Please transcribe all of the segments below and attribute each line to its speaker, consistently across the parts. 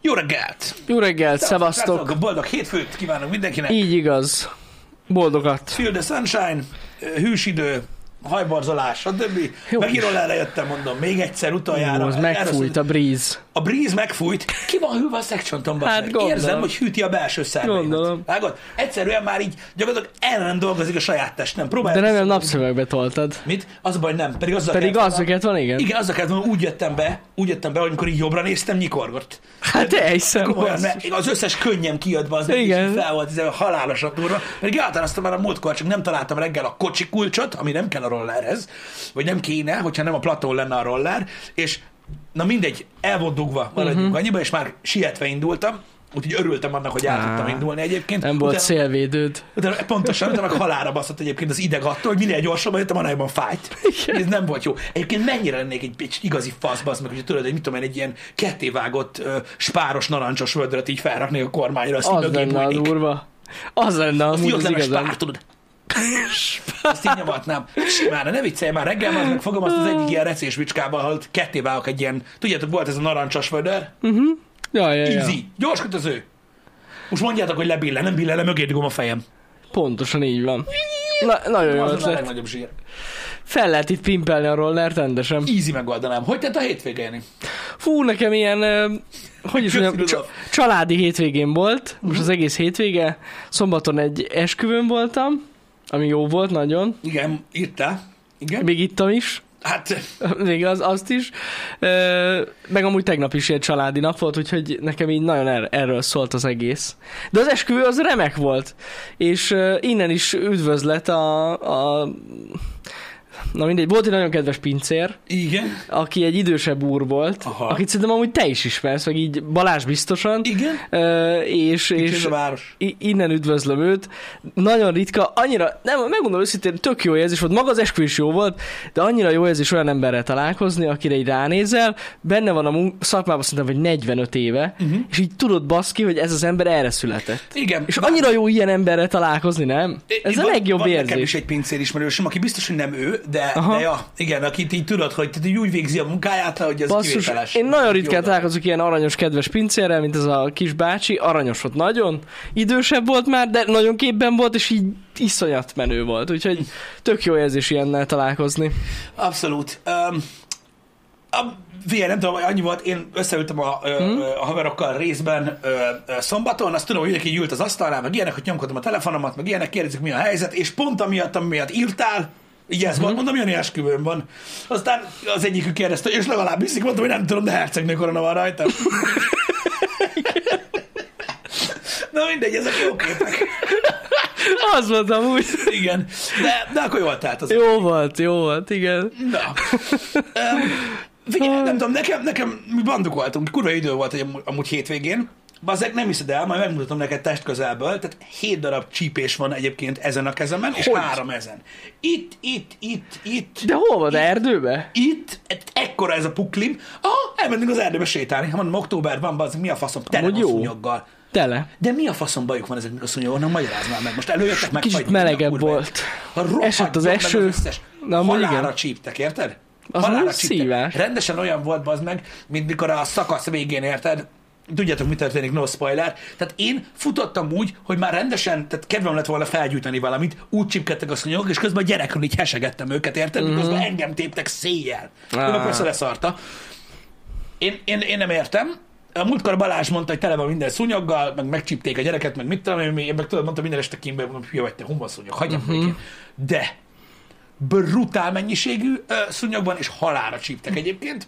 Speaker 1: Jó reggelt!
Speaker 2: Jó reggelt, szevasztok!
Speaker 1: Srácok, boldog hétfőt kívánok mindenkinek!
Speaker 2: Így igaz. Boldogat.
Speaker 1: Feel the sunshine, hűs idő, hajbarzolás, stb.
Speaker 2: Jó
Speaker 1: Megírom erre jöttem, mondom, még egyszer utoljára.
Speaker 2: Ó, az megfújt a bríz.
Speaker 1: A bríz megfújt, ki van hűve a szekcsontom,
Speaker 2: Hát
Speaker 1: hát,
Speaker 2: gondolom.
Speaker 1: Érzem, hogy hűti a belső szerveimet.
Speaker 2: Gondolom.
Speaker 1: Vágod? Egyszerűen már így gyakorlatilag el nem dolgozik a saját testem. Próbálj
Speaker 2: De remélem napszövegbe toltad.
Speaker 1: Mit? Az a baj, nem. Pedig azzal
Speaker 2: Pedig
Speaker 1: kellett
Speaker 2: az,
Speaker 1: volna-
Speaker 2: hogy van, igen?
Speaker 1: Igen, azzal kellett volna, úgy jöttem be, úgy jöttem be, hogy amikor így jobbra néztem, nyikorgott.
Speaker 2: Hát te hiszem.
Speaker 1: Komolyan,
Speaker 2: basszus.
Speaker 1: mert az összes könnyem kijött be, az
Speaker 2: Igen.
Speaker 1: Igen. fel volt ez a halálosan durva. Pedig elhatároztam már a múltkor, csak nem találtam reggel a kocsi kulcsot, ami nem kell a rollerhez, vagy nem kéne, hogyha nem a platón lenne a roller, és na mindegy, el volt dugva, maradjunk
Speaker 2: Mhm.
Speaker 1: uh-huh. annyiba, és már sietve indultam, úgyhogy örültem annak, hogy el
Speaker 2: Á,
Speaker 1: tudtam indulni egyébként.
Speaker 2: Nem volt
Speaker 1: Utána-
Speaker 2: szélvédőd.
Speaker 1: Utána, pontosan, utána meg halálra baszott egyébként az ideg attól, hogy minél gyorsabban jöttem, annál jobban fájt. Ez nem volt jó. Egyébként mennyire lennék egy, egy igazi fasz, bassz meg, hogy tudod, hogy mit tudom én, egy ilyen kettévágott ö, spáros narancsos vödröt így felrakni a kormányra, azt így
Speaker 2: Az
Speaker 1: mögé
Speaker 2: lenne a
Speaker 1: bújnék.
Speaker 2: durva. Az lenne
Speaker 1: Azt így
Speaker 2: amúgy
Speaker 1: ott
Speaker 2: az
Speaker 1: lenne a
Speaker 2: igazán.
Speaker 1: spár, tudod. Azt így nyomatnám. Simán, ne viccelj már reggel, már meg fogom azt az egyik ilyen recés vicskával, ahol kettévágok egy ilyen, tudjátok, volt ez a narancsos vödör,
Speaker 2: Ja, ja, ja.
Speaker 1: easy, gyors kötöző. Most mondjátok, hogy lebillen, nem billen, le mögé dugom a fejem.
Speaker 2: Pontosan így van. Na, nagyon jó
Speaker 1: Az a
Speaker 2: ötlet.
Speaker 1: legnagyobb zsír.
Speaker 2: Fel lehet itt pimpelni a rollert rendesen.
Speaker 1: Easy megoldanám. Hogy tett a hétvége, Jani?
Speaker 2: Fú, nekem ilyen, ö, hogy is mondjam,
Speaker 1: Köszi,
Speaker 2: csa- családi hétvégén volt, most az egész hétvége. Szombaton egy esküvőn voltam, ami jó volt nagyon.
Speaker 1: Igen, írtál. Igen.
Speaker 2: Még ittam is,
Speaker 1: Hát,
Speaker 2: még az, azt is. Ö, meg amúgy tegnap is egy családi nap volt, úgyhogy nekem így nagyon er- erről szólt az egész. De az esküvő az remek volt, és ö, innen is üdvözlet a... a Na mindegy, volt egy nagyon kedves pincér,
Speaker 1: igen.
Speaker 2: aki egy idősebb úr volt,
Speaker 1: Aha.
Speaker 2: akit szerintem amúgy te is ismersz, meg így Balázs biztosan.
Speaker 1: Igen.
Speaker 2: Ö, és,
Speaker 1: És
Speaker 2: és
Speaker 1: a város.
Speaker 2: i- innen üdvözlöm őt. Nagyon ritka, annyira, nem, megmondom őszintén, tök jó érzés volt, maga az eskü is jó volt, de annyira jó érzés olyan emberrel találkozni, akire így ránézel, benne van a mun- szakmában szerintem, hogy 45 éve,
Speaker 1: Mhm.
Speaker 2: uh-huh. és így tudod baszki, hogy ez az ember erre született.
Speaker 1: Igen.
Speaker 2: És annyira jó ilyen emberrel találkozni, nem?
Speaker 1: I-
Speaker 2: Ez a
Speaker 1: van-
Speaker 2: legjobb
Speaker 1: van Nekem is
Speaker 2: érzés.
Speaker 1: egy pincér ismerősöm, aki biztos, hogy nem ő, de,
Speaker 2: Aha.
Speaker 1: de ja, igen, akit így tudod, hogy tehát így úgy végzi a munkáját, hogy ez
Speaker 2: Basszus,
Speaker 1: kivételes.
Speaker 2: én nagyon ritkán
Speaker 1: Jó,
Speaker 2: találkozok ilyen aranyos kedves pincérrel, mint ez a kis bácsi. Aranyos volt nagyon, idősebb volt már, de nagyon képben volt, és így iszonyat menő volt. Úgyhogy tök jó érzés ilyennel találkozni.
Speaker 1: Abszolút. Um, a, figyelj, nem tudom, hogy annyi volt, én összeültem a, hmm? a haverokkal részben ö, ö, szombaton, azt tudom, hogy mindenki ült az asztalnál, meg ilyenek, hogy nyomkodom a telefonomat, meg ilyenek, kérdezik, mi a helyzet, és pont amiatt, amiatt írtál, így ez volt, mondom, Jani esküvőm van. Aztán az egyikük kérdezte, és legalább viszik, mondtam, hogy nem tudom, de hercegnő korona van rajta. Na mindegy, ezek jó képek.
Speaker 2: Az volt amúgy.
Speaker 1: Igen. De, de akkor jól telt az
Speaker 2: Jó volt, jó volt, igen.
Speaker 1: Na. Öm, Figyelj, nem tudom, nekem, nekem mi bandukoltunk, kurva idő volt egy, amúgy hétvégén. Bazzeg, nem hiszed el, majd megmutatom neked test közelből, tehát hét darab csípés van egyébként ezen a kezemen, és
Speaker 2: Hogy?
Speaker 1: három ezen. Itt, itt, itt, itt,
Speaker 2: De hol van? Erdőbe?
Speaker 1: itt, e- ekkora ez a puklim. Aha, elmentünk az erdőbe sétálni. Ha mondom, október van, bazzeg, mi a faszom, tele
Speaker 2: Amúgy
Speaker 1: van
Speaker 2: jó.
Speaker 1: szúnyoggal.
Speaker 2: Tele.
Speaker 1: De mi a faszom bajuk van ezeknek a szúnyogoknak? Magyaráznál meg. Most előjöttek meg.
Speaker 2: Kicsit melegebb volt. Esett az eső.
Speaker 1: Na,
Speaker 2: Na, amúgy
Speaker 1: halára
Speaker 2: igen.
Speaker 1: csíptek, érted?
Speaker 2: Az
Speaker 1: Halára
Speaker 2: nagyon
Speaker 1: csíptek.
Speaker 2: szívás.
Speaker 1: Rendesen olyan volt bazd meg, mint mikor a szakasz végén érted, tudjátok, mi történik, no spoiler. Tehát én futottam úgy, hogy már rendesen, tehát kedvem lett volna felgyújtani valamit, úgy csipkedtek a szúnyogok, és közben a gyerekről így hesegettem őket, érted? Mm-hmm. Miközben engem téptek széjjel.
Speaker 2: Á.
Speaker 1: Ah. persze leszarta. Én, én, én nem értem. A múltkor Balázs mondta, hogy tele van minden szúnyoggal, meg megcsípték a gyereket, meg mit tudom én, én meg tudod, mondtam minden este kimbe, mondom, hülye vagy te, humba szúnyog, hagyjam uh-huh. De brutál mennyiségű ö, szúnyog van, és halára csíptek egyébként.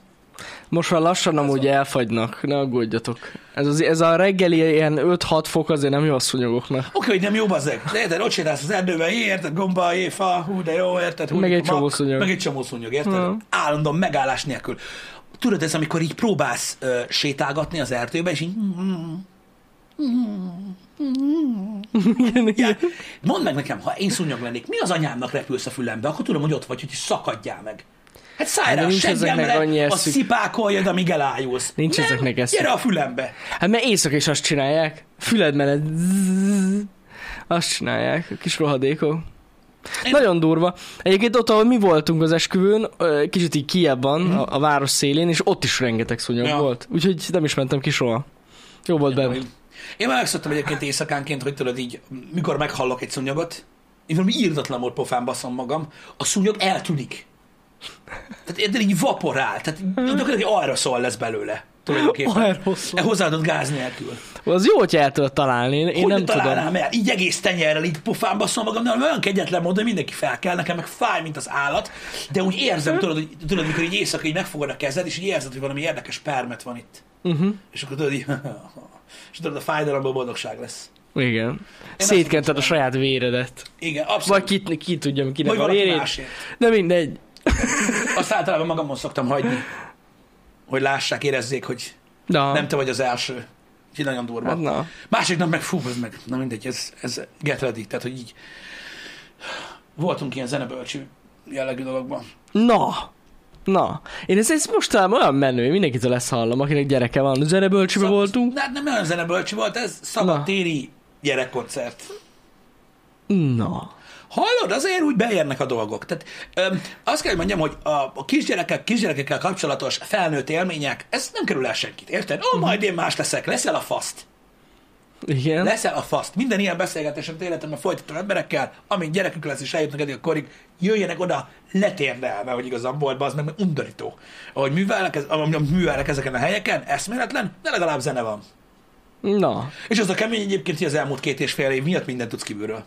Speaker 2: Most már lassan amúgy elfagynak, ne aggódjatok. Ez, az, ez a reggeli ilyen 5-6 fok azért nem jó a szúnyogoknak.
Speaker 1: Oké, hogy nem jó bazzeg, de érted, ott sétálsz az erdőben, jé, érted, gomba, jé, fa, hú, de jó, érted, hú,
Speaker 2: Meg
Speaker 1: de
Speaker 2: egy
Speaker 1: mak,
Speaker 2: csomó szúnyog.
Speaker 1: Meg egy csomó szúnyog, érted? Állandóan megállás nélkül. Tudod, ez amikor így próbálsz ö, sétálgatni az erdőben, és így "Mm,
Speaker 2: Igen, igen.
Speaker 1: Ja, mondd meg nekem, ha én szúnyog lennék, mi az anyámnak repülsz a fülembe? Akkor tudom, hogy ott vagy, hogy szakadjál meg. Hát szállj
Speaker 2: De
Speaker 1: rá a
Speaker 2: nincs ezeknek annyi
Speaker 1: seggemre, a
Speaker 2: eszük.
Speaker 1: szipákoljad, amíg elájulsz.
Speaker 2: Nincs
Speaker 1: Nem,
Speaker 2: ezeknek eszük.
Speaker 1: Gyere a fülembe.
Speaker 2: Hát mert éjszaka is azt csinálják. Füled mellett zzzz, azt csinálják, a kis rohadékok.
Speaker 1: Én-
Speaker 2: Nagyon durva. Egyébként ott, ahol mi voltunk az esküvőn, ö, kicsit így kiebb van, a, a város szélén, és ott is rengeteg szúnyog
Speaker 1: Mhm. Ja.
Speaker 2: volt. Úgyhogy nem is mentem ki soha. Jó volt
Speaker 1: Nem
Speaker 2: be.
Speaker 1: tudom, Én már megszoktam egyébként éjszakánként, hogy tudod így, mikor meghallok egy szúnyogot, én valami írdatlan volt pofán baszom magam, a szúnyog eltűnik. Tehát érted, így vaporál, tehát
Speaker 2: Hmm.
Speaker 1: gyakorlatilag egy aeroszol lesz belőle tulajdonképpen. E
Speaker 2: Aeroszol.
Speaker 1: hozzáadott gáz nélkül.
Speaker 2: Az jó, hogy el tudod találni, én, én
Speaker 1: Hogy
Speaker 2: nem
Speaker 1: nem
Speaker 2: tudom.
Speaker 1: találnám el? Így egész tenyerrel, így pofán baszom magam, de olyan kegyetlen módon, hogy mindenki fel kell, nekem meg fáj, mint az állat, de úgy érzem, tudod, hogy, tudod mikor így éjszaka így megfogod a kezed, és így érzed, hogy valami érdekes permet van itt.
Speaker 2: Uh-huh.
Speaker 1: És akkor tudod, így, és tudod, a fájdalomból boldogság lesz.
Speaker 2: Igen.
Speaker 1: azt
Speaker 2: Szétkented a
Speaker 1: tudom.
Speaker 2: saját véredet.
Speaker 1: Igen, abszolút.
Speaker 2: Vagy ki, ki tudja, kinek
Speaker 1: Vagy
Speaker 2: a
Speaker 1: valaki
Speaker 2: vérét.
Speaker 1: másért.
Speaker 2: De mindegy.
Speaker 1: Azt általában magamon szoktam hagyni, hogy lássák, érezzék, hogy
Speaker 2: Na.
Speaker 1: nem te vagy az első. Úgyhogy nagyon durva.
Speaker 2: Hát na.
Speaker 1: Másik nap meg fú, ez meg, na mindegy, ez, ez get ready. Tehát, hogy így voltunk ilyen zenebölcsű jellegű dologban.
Speaker 2: Na. Na. Én ez, ez mostanában olyan menő, mindenkitől ezt hallom, akinek gyereke van. Zenebölcsőbe
Speaker 1: Szab-
Speaker 2: voltunk.
Speaker 1: De hát nem olyan zenebölcsű volt, ez szabadtéri gyerekkoncert.
Speaker 2: Na.
Speaker 1: Hallod, azért úgy beérnek a dolgok. Tehát öm, azt kell, hogy mondjam, hogy a, a kisgyerekek, kisgyerekekkel kapcsolatos felnőtt élmények, ez nem kerül el senkit, érted? Ó, majd én más leszek, leszel a faszt.
Speaker 2: Igen.
Speaker 1: Leszel a faszt. Minden ilyen beszélgetésem életemben folytatom emberekkel, amint gyerekük lesz és eljutnak eddig a korig, jöjjenek oda letérdelve, hogy igazán volt, az meg mert undorító. Ahogy művelnek, ez, ahogy művelnek ezeken a helyeken, eszméletlen, de legalább zene van.
Speaker 2: Na.
Speaker 1: És az a kemény egyébként, hogy az elmúlt két és fél év miatt mindent tudsz kívülről.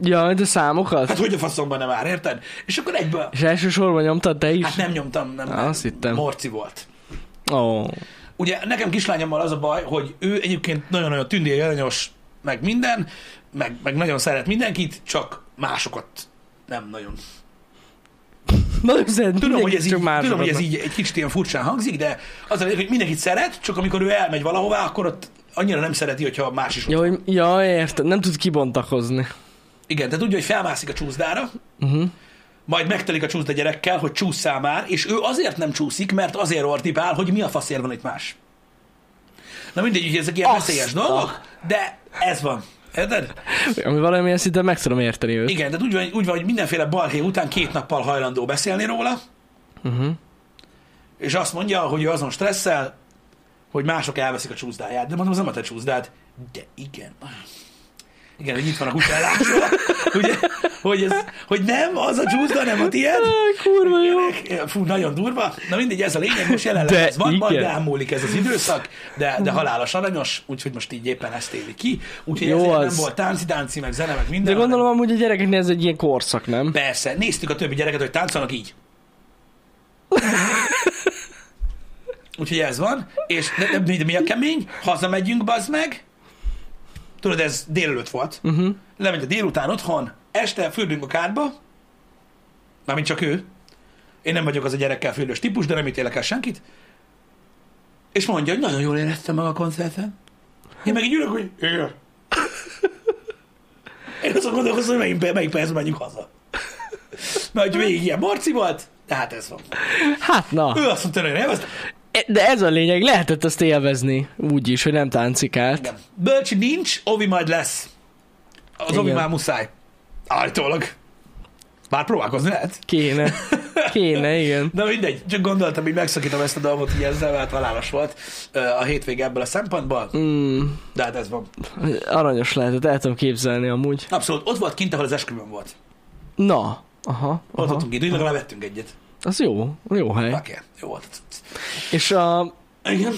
Speaker 2: Ja, de számokat?
Speaker 1: Hát hogy a faszomban nem már, érted? És akkor egyből,
Speaker 2: És elsősorban nyomtad te is?
Speaker 1: hát nem nyomtam, nem, nem.
Speaker 2: Azt hittem.
Speaker 1: Morci volt.
Speaker 2: Ó.
Speaker 1: Ugye nekem kislányommal az a baj, hogy ő egyébként nagyon-nagyon tündér, aranyos, meg minden, meg, meg nagyon szeret mindenkit, csak másokat nem nagyon.
Speaker 2: Nagyon szeret,
Speaker 1: Tudom, hogy ez, így,
Speaker 2: csak már
Speaker 1: tudom hogy ez így egy kicsit ilyen furcsán hangzik, de az a lényeg, hogy mindenkit szeret, csak amikor ő elmegy valahová, akkor ott annyira nem szereti, hogyha más is ott.
Speaker 2: Ja, hogy, ja, érted, nem tud kibontakozni.
Speaker 1: Igen, tehát tudja, hogy felmászik a csúszdára,
Speaker 2: Uh-huh.
Speaker 1: majd megtelik a csúszda gyerekkel, hogy csúszszál már, és ő azért nem csúszik, mert azért ordibál, hogy mi a faszért van itt más. Na mindegy, ugye ezek ilyen
Speaker 2: Azt
Speaker 1: veszélyes
Speaker 2: a-
Speaker 1: dolgok, de ez van. Érted?
Speaker 2: Ami valamilyen szinten meg tudom érteni őt.
Speaker 1: Igen, tehát úgy van, úgy van, hogy mindenféle balhé után két nappal hajlandó beszélni róla,
Speaker 2: Uh-huh.
Speaker 1: és azt mondja, hogy ő azon stresszel, hogy mások elveszik a csúszdáját. De mondom, az nem a te csúszdád. De igen. Igen, hogy itt van a kutyálásról. Ugye, hogy, ez, hogy nem, az a csúszda, nem a tiéd.
Speaker 2: kurva jó.
Speaker 1: Ilyenek. Fú, nagyon durva. Na mindegy, ez a lényeg, most jelenleg
Speaker 2: De
Speaker 1: ez van, igen. majd
Speaker 2: igen. Mhm.
Speaker 1: elmúlik ez az időszak, de, de halálos aranyos, úgyhogy most így éppen ezt éli ki. Úgyhogy
Speaker 2: Jó
Speaker 1: ezért nem
Speaker 2: az.
Speaker 1: volt tánci, tánci, meg zene, meg minden.
Speaker 2: De
Speaker 1: hanem-
Speaker 2: gondolom amúgy a gyerekeknél ez egy ilyen korszak, nem?
Speaker 1: Persze, néztük a többi gyereket, hogy táncolnak így. Úgyhogy ez van, és de, de, de mi a kemény? Hazamegyünk, bazd meg. Tudod, ez délelőtt volt.
Speaker 2: Uh-huh.
Speaker 1: Lemegy a délután otthon, este fürdünk a kádba, mármint csak ő. Én nem vagyok az a gyerekkel fürdős típus, de nem ítélek el senkit. És mondja, hogy nagyon jól éreztem meg a koncerten. Én meg így ülök, hogy igen. Én azon gondolkozom, hogy melyik, melyik percben menjünk haza. Mert hogy végig ilyen marci volt, de hát ez van.
Speaker 2: Hát na,
Speaker 1: Ő azt mondta, hogy nem, azt
Speaker 2: E- de ez a lényeg, lehetett azt élvezni úgy is, hogy nem táncikált.
Speaker 1: igen. Bölcsi nincs, Ovi majd lesz. Az Ovi
Speaker 2: Igen.
Speaker 1: már muszáj. Állítólag. Bár próbálkozni lehet.
Speaker 2: Kéne. Kéne, igen.
Speaker 1: Na mindegy, csak gondoltam, hogy megszakítom ezt a dolgot, hogy ezzel hát halálos volt ö, a hétvége ebből a szempontból,
Speaker 2: Mm,
Speaker 1: de hát ez van.
Speaker 2: aranyos lehetett, el tudom képzelni amúgy.
Speaker 1: Abszolút, ott volt kint, ahol az esküvőm volt.
Speaker 2: Na, aha,
Speaker 1: Ott
Speaker 2: aha.
Speaker 1: voltunk kint, úgy legalább vettünk egyet.
Speaker 2: Az jó, jó hely.
Speaker 1: Oké, jó volt. a cucc.
Speaker 2: És a,
Speaker 1: Igen.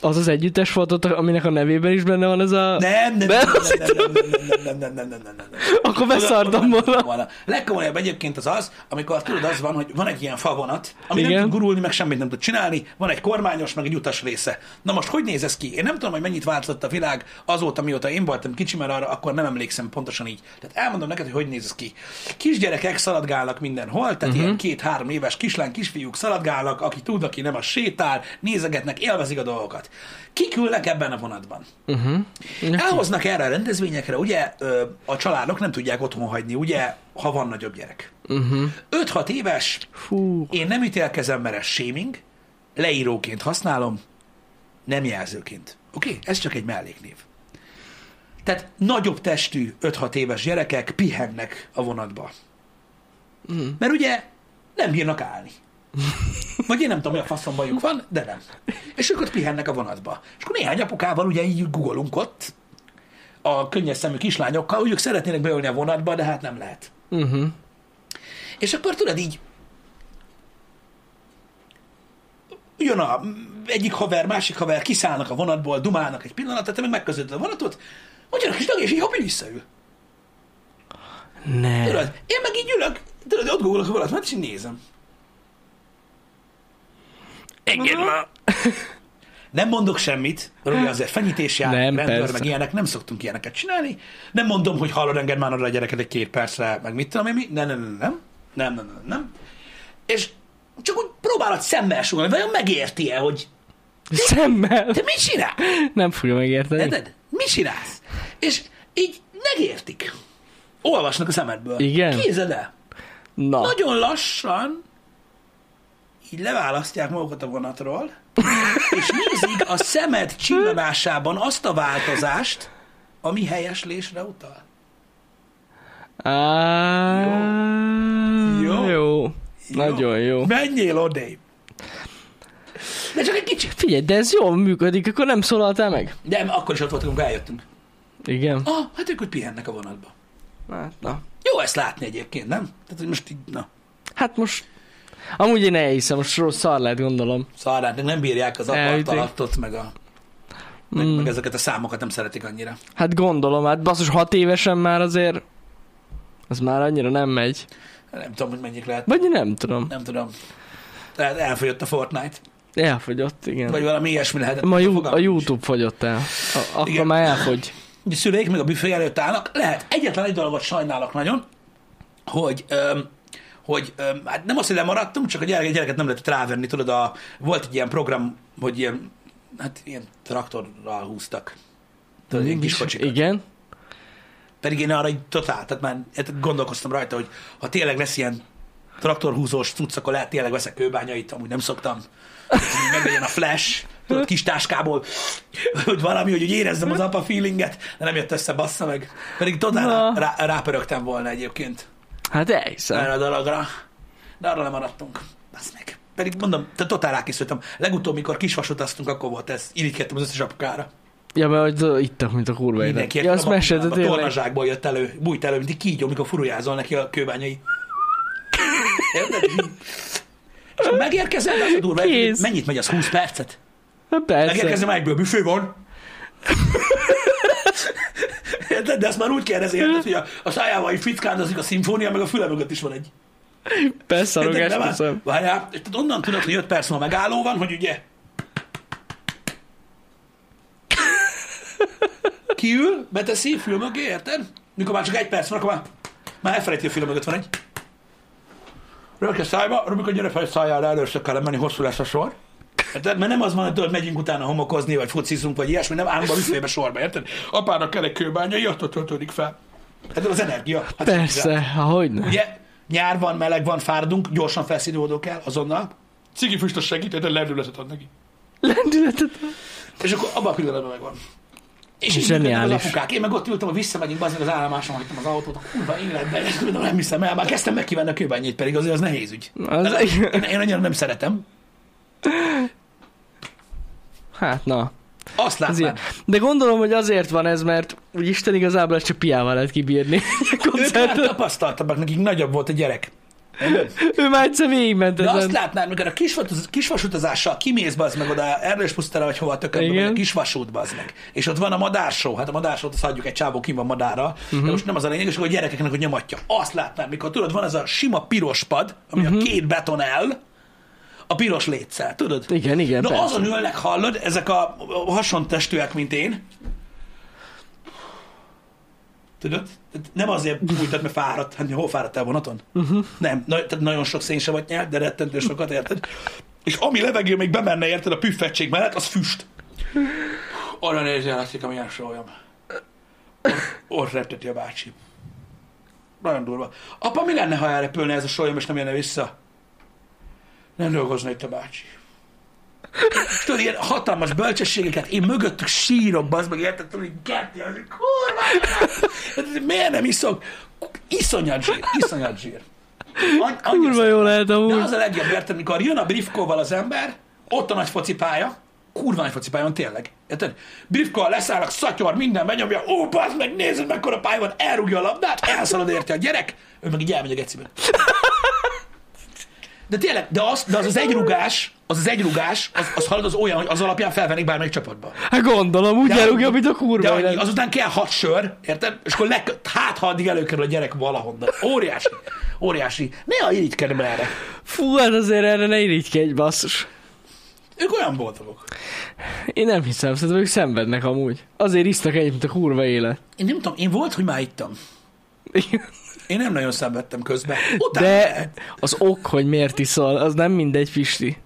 Speaker 2: az az együttes volt ott, aminek a nevében is benne van ez a...
Speaker 1: Nem, nem,
Speaker 2: De
Speaker 1: nem,
Speaker 2: azt
Speaker 1: nem, nem, nem, nem, nem, nem, nem, nem, nem, nem, nem, nem.
Speaker 2: Akkor beszartam volna.
Speaker 1: volna. Legkomolyabb egyébként az az, amikor tudod, az van, hogy van egy ilyen favonat, ami Igen.
Speaker 2: Igen.
Speaker 1: nem tud gurulni, meg semmit nem tud csinálni, van egy kormányos, meg egy utas része. Na most hogy néz ez ki? Én nem tudom, hogy mennyit változott a világ azóta, mióta én voltam kicsi, mert arra akkor nem emlékszem pontosan így. Tehát elmondom neked, hogy hogy néz ez ki. Kisgyerekek szaladgálnak mindenhol, tehát
Speaker 2: Mhm.
Speaker 1: uh-huh. ilyen két-három éves kislány, kisfiúk szaladgálnak, aki tud, aki nem, a sétál, nézegetnek, élvezik a dolgokat. Kik ülnek ebben a vonatban?
Speaker 2: Mhm,
Speaker 1: Elhoznak erre a rendezvényekre, ugye ö, a családok nem tudják otthon hagyni, ugye, ha van nagyobb gyerek.
Speaker 2: mhm.
Speaker 1: Uh-huh. 5-6 éves,
Speaker 2: Fú,
Speaker 1: én nem ítélkezem, mert ez shaming, leíróként használom, nem jelzőként. Oké? Okay? Ez csak egy melléknév. Tehát nagyobb testű 5-6 éves gyerekek pihennek a vonatba. Mert ugye nem bírnak állni. Vagy én nem tudom, mi a faszom bajuk van, de nem. És ők ott pihennek a vonatba. És akkor néhány apukával ugye így googolunk ott, a könnyes szemű kislányokkal, hogy ők szeretnének beülni a vonatba, de hát nem lehet.
Speaker 2: Uh-huh.
Speaker 1: És akkor tudod így, jön a egyik haver, másik haver, kiszállnak a vonatból, dumálnak egy pillanatot, te meg megközötted a vonatot, mondjanak kis tag, és így hopi visszaül.
Speaker 2: Ne.
Speaker 1: Tudod, én meg így ülök, tudod, ott googolok a vonatban, és így nézem.
Speaker 2: Engedd már.
Speaker 1: Nem mondok semmit, Robi azért fenyítésjár,
Speaker 2: Nem,
Speaker 1: nem, rendőr,
Speaker 2: persze.
Speaker 1: persze. meg ilyenek, nem szoktunk ilyeneket csinálni. Nem mondom, hogy hallod, engedd már oda a gyereket egy két percre, meg mit tudom én mi. Nem, nem, nem, nem, nem, nem, nem, nem. És csak úgy próbálod szemmel sugalni, vajon megérti-e, hogy
Speaker 2: Szemmel.
Speaker 1: te mit csinál?
Speaker 2: Nem fogja megérteni.
Speaker 1: Érted? Mi csinálsz? És így megértik. Olvasnak a szemedből.
Speaker 2: Igen?
Speaker 1: Képzeld el.
Speaker 2: Na.
Speaker 1: Nagyon lassan így leválasztják magukat a vonatról, és nézik a szemed csillanásában azt a változást, ami helyeslésre utal.
Speaker 2: Á...
Speaker 1: Jó. Jó.
Speaker 2: Jó. Nagyon jó.
Speaker 1: Menjél odébb. De csak egy kicsit.
Speaker 2: Figyelj, de ez jól működik, akkor nem szólaltál meg?
Speaker 1: De akkor is ott voltunk, amikor eljöttünk.
Speaker 2: Igen.
Speaker 1: Ah, hát ők úgy pihennek a vonatba.
Speaker 2: Hát, na.
Speaker 1: Jó ezt látni egyébként, nem? Tehát, hogy most így, na,
Speaker 2: Hát most... Amúgy én elhiszem, most rossz szar lehet, gondolom.
Speaker 1: szarrák, nem bírják az
Speaker 2: Elütik.
Speaker 1: apartalatot, meg a meg, mm. meg ezeket a számokat nem szeretik annyira.
Speaker 2: Hát gondolom, hát basszus hat évesen már azért... Az már annyira nem megy.
Speaker 1: Nem tudom, hogy mennyik lehet.
Speaker 2: Vagy én nem tudom.
Speaker 1: Nem tudom. Tehát elfogyott a Fortnite.
Speaker 2: Elfogyott,
Speaker 1: Vagy
Speaker 2: igen.
Speaker 1: valami ilyesmi lehetett.
Speaker 2: Ma ju- a
Speaker 1: Fogalmam nincs.
Speaker 2: Youtube fogyott el. A- akkor
Speaker 1: Igen.
Speaker 2: már elfogy.
Speaker 1: Ugye A szüleik meg a büfé előtt állnak. Lehet. Egyetlen egy dolgot sajnálok nagyon, hogy öm, hogy öm, hát nem azt, hogy lemaradtunk, csak a gyereket, gyereket nem lehetett rávenni. Tudod, a, volt egy ilyen program, hogy ilyen, hát ilyen traktorral húztak. Tudod, ilyen kis kocsikat.
Speaker 2: Igen.
Speaker 1: Pedig én arra így totál, tehát már hát gondolkoztam rajta, hogy ha tényleg lesz ilyen traktorhúzós cucc, akkor lehet tényleg veszek kőbányait, amúgy nem szoktam. Hogy így Meglegyen a flash, tudod, kis táskából, hogy valami, hogy úgy érezzem az apa feelinget, de nem jött össze, bassza meg. Pedig totál
Speaker 2: Na.
Speaker 1: rá, rápörögtem volna egyébként
Speaker 2: Hát elhiszem.
Speaker 1: erre a dologra, de arra lemaradtunk. Basz meg. Pedig mondom, te totál rákészültem. Legutóbb, mikor kisvasutaztunk, akkor volt ez. Irigykedtem az összes apukára.
Speaker 2: Ja, mert hogy ittak, mint a kurva élet.
Speaker 1: Mindenki
Speaker 2: Ja, azt mesélte
Speaker 1: a
Speaker 2: tényleg.
Speaker 1: tornazsákból jött elő, bújt elő, mint egy kígyó, mikor furujázol neki a kőbányai. Érted? És ha megérkezel, de az a durva,
Speaker 2: Kész.
Speaker 1: mennyit megy az 20 percet?
Speaker 2: Hát persze.
Speaker 1: Megérkezem, már egyből büfé van. Érted? De ezt már úgy kérdezi, érted, hogy a, a szájával így fickándozik a szimfónia, meg a füle mögött is van egy.
Speaker 2: Beszarogás,
Speaker 1: Érted? De
Speaker 2: köszönöm.
Speaker 1: már- Várjál, és tehát onnan tudod, hogy 5 perc múlva megálló van, hogy ugye kiül, beteszi, fül mögé, érted? Mikor már csak egy perc van, akkor már, már elfelejti a fül mögött van egy. Röke szájba, Rubikon gyere fel szájára, először kell menni, hosszú lesz a sor. Érted? Mert nem az van, hogy tudod, megyünk utána homokozni, vagy focizunk, vagy ilyesmi, nem állunk a büfébe sorba, érted? Apának kell egy kőbányai, attól töltődik fel. Hát az energia. Hát
Speaker 2: Persze, ha hogy ne.
Speaker 1: Ugye nyár van, meleg van, fáradunk, gyorsan felszívódó kell, azonnal. Cigi füstös segít, de lendületet ad neki.
Speaker 2: Lendületet.
Speaker 1: És akkor abban a pillanatban megvan. És így
Speaker 2: Zseniális.
Speaker 1: működnek az apukák. Én meg ott ültem, hogy visszamegyünk, az az állomáson hagytam az autót, a kurva életben, és tudom, nem hiszem el, már kezdtem megkívánni a kőbányét, pedig azért az nehéz ügy.
Speaker 2: Az-
Speaker 1: Ez- én, én annyira nem szeretem.
Speaker 2: Hát na.
Speaker 1: Azt
Speaker 2: Ez ilyen.
Speaker 1: látom.
Speaker 2: De gondolom, hogy azért van ez, mert úgy Isten igazából ezt csak piával lehet kibírni. A
Speaker 1: Ők már
Speaker 2: koncertet.
Speaker 1: tapasztaltabbak, nekik nagyobb volt a gyerek.
Speaker 2: Ő már egyszer végigment
Speaker 1: De azt
Speaker 2: ezen.
Speaker 1: látnád, mikor a kisvasutaz- kisvasutazással kimész, bazd meg oda, Erdős pusztára, vagy hova a tökönbe,
Speaker 2: Igen.
Speaker 1: vagy a kisvasút, bazd meg. És ott van a madársó, hát a madársót azt hagyjuk egy csávó, ki van madára, uh-huh.
Speaker 2: Mhm.
Speaker 1: de most nem az a lényeg, és akkor a gyerekeknek, hogy nyomatja. Azt látnád, mikor tudod, van ez a sima piros pad, ami
Speaker 2: Mhm.
Speaker 1: uh-huh. a két beton el, a piros létszel, tudod?
Speaker 2: Igen, igen,
Speaker 1: Na
Speaker 2: persze.
Speaker 1: azon ülnek, hallod, ezek a a hasontestűek, mint én. Tudod? Tehát Nem azért bújtad, mert fáradt. Hát hol fáradtál vonaton?
Speaker 2: Mhm.
Speaker 1: Uh-huh. Nem. Na, tehát nagyon sok szénsavat nyert, de rettentő sokat, érted? És ami levegő még bemenne, érted, a püffettség mellett, az füst. Arra nézzel, látszik, amilyen sólyom. Ott repteti a bácsi. Nagyon durva. Apa, mi lenne, ha elrepülne ez a sólyom, és nem jönne vissza? Nem dolgozna itt a bácsi. Tudod, ilyen hatalmas bölcsességeket, én mögöttük sírok, bazd meg, érted, tudod, így gerti, az így, Hát kurva, miért nem iszok? Iszonyat zsír, iszonyat zsír. Any- annyira
Speaker 2: Kurva jó lehet
Speaker 1: De
Speaker 2: amúgy.
Speaker 1: az a legjobb, érted, amikor jön a briefkóval az ember, ott a nagy focipálya, kurva nagy focipályon tényleg. Érted? Briefkóval leszállnak, szatyor, minden benyomja, ó, bazd meg, nézd, mekkora pálya van, elrúgja a labdát, elszalad érte a gyerek, ő meg így elmegy a gecibe. De tényleg, de az, de az, az egyrugás, az az egyrugás, az, az halad az olyan, hogy az alapján felvennék bármelyik csapatba.
Speaker 2: Hát gondolom, úgy
Speaker 1: De
Speaker 2: elugja,
Speaker 1: annyi-
Speaker 2: mint a
Speaker 1: De
Speaker 2: kurva.
Speaker 1: annyi,
Speaker 2: élet.
Speaker 1: azután kell hat sör, érted? És akkor le, hát ha addig előkerül a gyerek valahonnan. Óriási, óriási. Néha irigykedem erre.
Speaker 2: Fú, hát azért erre ne irigykedj, basszus.
Speaker 1: Ők olyan boldogok.
Speaker 2: Én nem hiszem, szerintem ők szenvednek amúgy. Azért isznak egyet, mint a kurva élet.
Speaker 1: Én nem tudom, én volt, hogy már ittam. Én nem nagyon szenvedtem közben. Utána
Speaker 2: De az ok, hogy miért iszol, az nem mindegy, Pisti.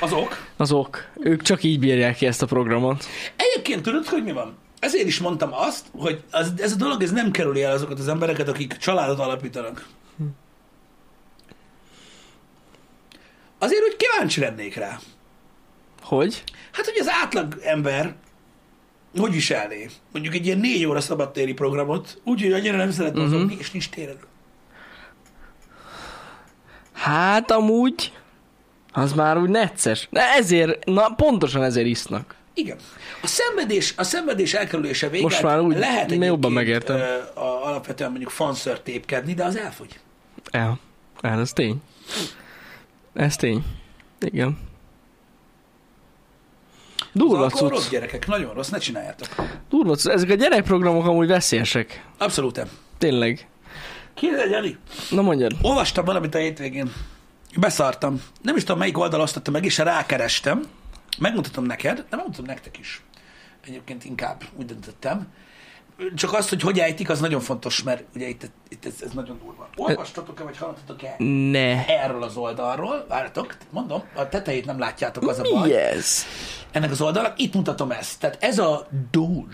Speaker 1: azok.
Speaker 2: Az ok. Ők csak így bírják ki ezt a programot.
Speaker 1: Egyébként tudod, hogy mi van? Ezért is mondtam azt, hogy az, ez a dolog ez nem kerüli el azokat az embereket, akik családot alapítanak. Azért úgy kíváncsi lennék rá.
Speaker 2: Hogy?
Speaker 1: Hát, hogy az átlag ember hogy viselné? Mondjuk egy ilyen négy óra szabadtéri programot, úgy, hogy annyira nem szeret mozogni, uh-huh. és nincs téren.
Speaker 2: Hát amúgy... Az már úgy necces. Na ezért, na pontosan ezért isznak.
Speaker 1: Igen. A szenvedés, a szenvedés elkerülése végén
Speaker 2: Most már úgy,
Speaker 1: lehet
Speaker 2: mi
Speaker 1: egy
Speaker 2: jobban megértem.
Speaker 1: A, alapvetően mondjuk fanszört tépkedni, de az elfogy.
Speaker 2: El. El, hát ez tény. Ez tény. Igen.
Speaker 1: Az
Speaker 2: Durva
Speaker 1: alkohol rossz
Speaker 2: cucc.
Speaker 1: gyerekek, nagyon rossz, ne csináljátok.
Speaker 2: Durva cucc. Ezek a gyerekprogramok amúgy veszélyesek.
Speaker 1: Abszolút nem.
Speaker 2: Tényleg.
Speaker 1: Kérdegy, Jani.
Speaker 2: Na mondjad.
Speaker 1: Olvastam valamit a hétvégén. Beszartam. Nem is tudom, melyik oldal osztotta meg, és rákerestem. Megmutatom neked, de megmutatom nektek is. Egyébként inkább úgy döntöttem. Csak az, hogy hogy ejtik, az nagyon fontos, mert ugye itt, itt ez, ez nagyon durva. Olvastatok-e, vagy hallottatok-e?
Speaker 2: Ne.
Speaker 1: erről az oldalról, várjatok, mondom, a tetejét nem látjátok, az a baj.
Speaker 2: Mi ez?
Speaker 1: Ennek az oldalnak, itt mutatom ezt. Tehát ez a Doge.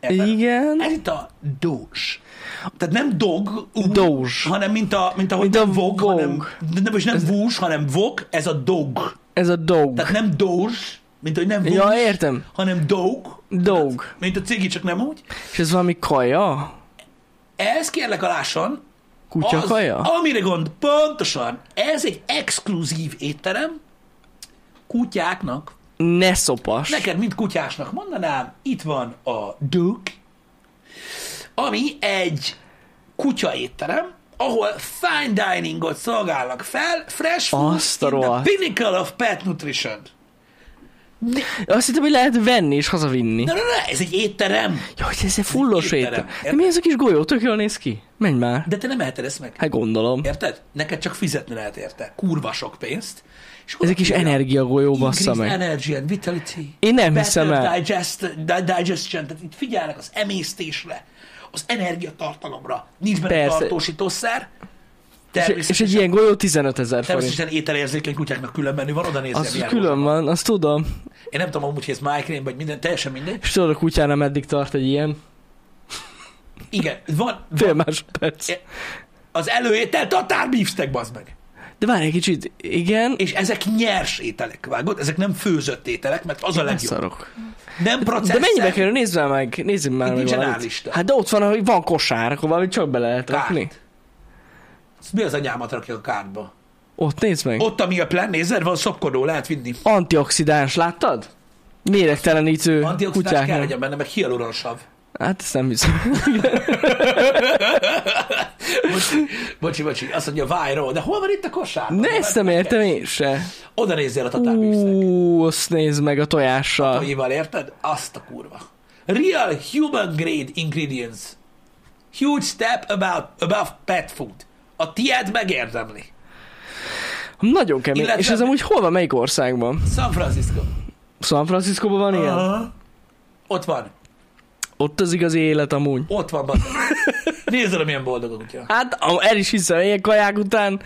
Speaker 1: Ebben-
Speaker 2: Igen.
Speaker 1: Ez itt a Doge. Tehát nem dog, úgy,
Speaker 2: Doge.
Speaker 1: hanem mint a, mint ahogy
Speaker 2: Mint a
Speaker 1: nem vog,
Speaker 2: Vogue.
Speaker 1: hanem, de nem, és nem vús, hanem vog, ez a dog.
Speaker 2: Ez a dog.
Speaker 1: Tehát nem Doge, mint hogy nem vús,
Speaker 2: Ja, értem.
Speaker 1: hanem dog,
Speaker 2: Dog.
Speaker 1: mint a cigi, csak nem úgy.
Speaker 2: És ez valami kaja?
Speaker 1: Ez kérlek a lásson,
Speaker 2: Kutya
Speaker 1: az,
Speaker 2: kaja?
Speaker 1: Amire gond, pontosan. Ez egy exkluzív étterem kutyáknak.
Speaker 2: Ne szopas.
Speaker 1: Neked, mint kutyásnak mondanám, itt van a Duke, ami egy kutya étterem, ahol fine diningot szolgálnak fel, fresh food
Speaker 2: Azt a
Speaker 1: in the
Speaker 2: rohadt.
Speaker 1: pinnacle of pet nutrition.
Speaker 2: Azt hittem, hogy lehet venni és hazavinni.
Speaker 1: Na, na, na, ez egy étterem.
Speaker 2: Jaj, hogy ez egy fullos
Speaker 1: Étterem.
Speaker 2: étel. De
Speaker 1: Érted?
Speaker 2: mi ez a kis golyó? Tök jól néz ki. Menj már.
Speaker 1: De te nem eheted ezt meg.
Speaker 2: Hát gondolom.
Speaker 1: Érted? Neked csak fizetni lehet érte. Kurva sok pénzt. És
Speaker 2: Ez egy kis
Speaker 1: oda írja,
Speaker 2: energiagolyó, bassza
Speaker 1: Increased
Speaker 2: meg.
Speaker 1: energy and vitality.
Speaker 2: Én nem
Speaker 1: Better
Speaker 2: hiszem el.
Speaker 1: Digest, di- digestion, tehát itt figyelnek az emésztésre, az energiatartalomra. Nincs benne
Speaker 2: Persze.
Speaker 1: tartósítószer.
Speaker 2: És, és
Speaker 1: Természetesen,
Speaker 2: egy ilyen golyó 15 ezer forint.
Speaker 1: természetesen ételérzékeny kutyáknak külön menü van, oda nézzél.
Speaker 2: Az
Speaker 1: milyen
Speaker 2: külön
Speaker 1: volt.
Speaker 2: van, azt tudom.
Speaker 1: Én nem tudom amúgy, hogy ez migraine, vagy minden, teljesen mindegy.
Speaker 2: És tudod, a kutyána meddig tart egy ilyen?
Speaker 1: Igen, van
Speaker 2: Fél másodperc.
Speaker 1: az előétel tatár beefsteak, bazd meg.
Speaker 2: De várj egy kicsit. Igen,
Speaker 1: És ezek nyers ételek, vágod? Ezek nem főzött ételek, mert az a legjobb.
Speaker 2: szarok.
Speaker 1: Nem
Speaker 2: De
Speaker 1: processzer.
Speaker 2: mennyibe kerül? Nézd már meg, nézzünk már
Speaker 1: Itt
Speaker 2: meg
Speaker 1: nincsen
Speaker 2: valamit.
Speaker 1: állista.
Speaker 2: Hát de ott van, hogy van kosár, akkor valamit csak bele lehet
Speaker 1: Kárt.
Speaker 2: rakni.
Speaker 1: Mi az anyámat rakja a kártba?
Speaker 2: Ott nézd meg.
Speaker 1: Ott a mealplan, nézed, van szopkodó, lehet vinni.
Speaker 2: Antioxidáns, láttad? Méregtelenítő
Speaker 1: Antioxidáns kell
Speaker 2: kutyáknak.
Speaker 1: legyen benne, meg hialuronsav.
Speaker 2: Hát ezt nem hiszem.
Speaker 1: Bocsi, bocsi, bocsi, azt mondja, vájró, de hol van itt a kosár?
Speaker 2: Ne, ezt nem értem én se.
Speaker 1: Oda nézzél a tatárbűsznek.
Speaker 2: Ú, azt nézd meg a tojással.
Speaker 1: Amivel érted? Azt a kurva. Real human grade ingredients. Huge step about, above pet food. A tiéd megérdemli.
Speaker 2: Nagyon kemény.
Speaker 1: Illetve-
Speaker 2: És ez amúgy hol van, melyik országban?
Speaker 1: San Francisco.
Speaker 2: San Franciscóban van ilyen?
Speaker 1: Aha. Ott van.
Speaker 2: Ott az igazi élet amúgy.
Speaker 1: Ott van. bazd meg. Nézd oda, milyen boldog a kutya.
Speaker 2: Hát a- el is hiszem, ilyen kaják után...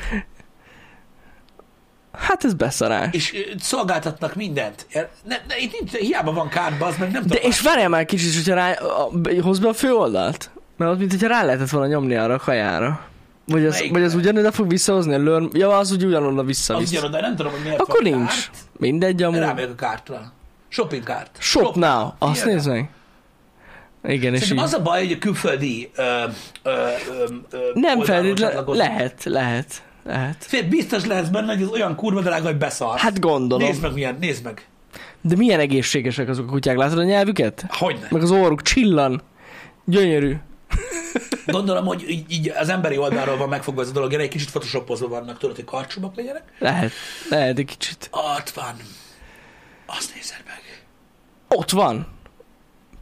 Speaker 2: Hát ez beszarás.
Speaker 1: És ö, szolgáltatnak mindent. Ér- Ne, ne, itt nincs, hiába van kárba, az meg nem
Speaker 2: De
Speaker 1: tudom.
Speaker 2: és várjál már kicsit, hogyha rá... A, a, hozd be a főoldalt. Mert ott, mint hogyha rá lehetett volna nyomni arra a kajára. Vagy az,
Speaker 1: Melyik
Speaker 2: vagy az
Speaker 1: kaja?
Speaker 2: ugyanoda fog visszahozni a lőr... Ja, az úgy ugyanoda vissza
Speaker 1: Az Hát?
Speaker 2: vissza.
Speaker 1: ugyanoda, nem tudom, hogy miért
Speaker 2: Akkor
Speaker 1: van
Speaker 2: nincs.
Speaker 1: Kárt,
Speaker 2: Mindegy
Speaker 1: de
Speaker 2: amúgy.
Speaker 1: rámegyek a kártra. Shopping kárt.
Speaker 2: Shop now. Azt
Speaker 1: Figyelj.
Speaker 2: nézd meg. Igen, és így...
Speaker 1: Szerintem az a baj, hogy a külföldi ö, ö, ö, ö,
Speaker 2: Nem
Speaker 1: oldalról
Speaker 2: feltétlenül,
Speaker 1: csatlakozni.
Speaker 2: lehet, lehet, lehet.
Speaker 1: Fél, biztos lesz benne, hogy ez olyan kurva drága, hogy beszar.
Speaker 2: Hát gondolom.
Speaker 1: nézd meg milyen, nézd meg.
Speaker 2: De milyen egészségesek azok a kutyák, látod a nyelvüket?
Speaker 1: Hogyne.
Speaker 2: Meg az orruk csillan. Gyönyörű.
Speaker 1: Gondolom, hogy így, így az emberi oldalról van megfogva ez a dolog, erre egy kicsit photoshopozva vannak, tudod, hogy karcsúbbak legyenek.
Speaker 2: Lehet, lehet egy kicsit.
Speaker 1: Ott van. Azt nézed meg.
Speaker 2: Ott van.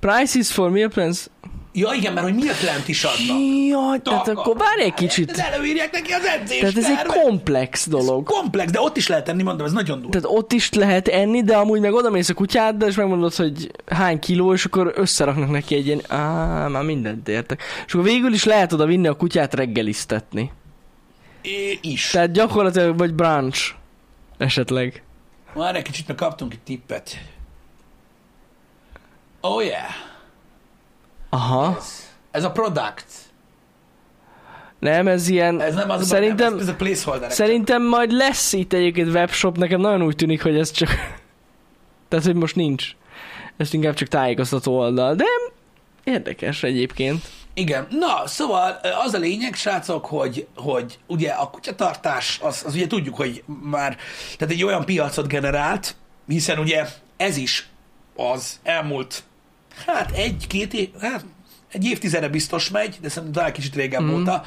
Speaker 2: Prices for meal plans.
Speaker 1: Ja, igen, mert hogy mi a plent is adnak.
Speaker 2: Jaj, tehát
Speaker 1: Takar.
Speaker 2: akkor várj egy
Speaker 1: Ez
Speaker 2: kicsit.
Speaker 1: előírják neki az edzést.
Speaker 2: Tehát ez egy komplex dolog.
Speaker 1: komplex, de ott is lehet tenni, mondom, ez nagyon durva.
Speaker 2: Tehát ott is lehet enni, de amúgy meg oda mész a kutyáddal, és megmondod, hogy hány kiló, és akkor összeraknak neki egy ilyen, á, már mindent értek. És akkor végül is lehet oda vinni a kutyát reggeliztetni.
Speaker 1: É, is.
Speaker 2: Tehát gyakorlatilag, vagy brunch. Esetleg.
Speaker 1: Már egy kicsit meg kaptunk egy tippet. Oh yeah.
Speaker 2: Aha.
Speaker 1: Ez, ez a product.
Speaker 2: Nem, ez ilyen...
Speaker 1: Ez nem az
Speaker 2: Szerintem-
Speaker 1: Nem, ez, ez a placeholder.
Speaker 2: Szerintem majd lesz itt egyébként webshop, nekem nagyon úgy tűnik, hogy ez csak... Tehát, hogy most nincs. Ez inkább csak tájékoztató oldal, de érdekes egyébként.
Speaker 1: Igen. Na, szóval ö, az a lényeg, srácok, hogy, hogy ugye a kutyatartás, az, az ugye tudjuk, hogy már tehát egy olyan piacot generált, hiszen ugye ez is az elmúlt, hát egy-két év, hát egy évtizede biztos megy, de szerintem talán kicsit régen
Speaker 2: Mhm.
Speaker 1: mm. óta,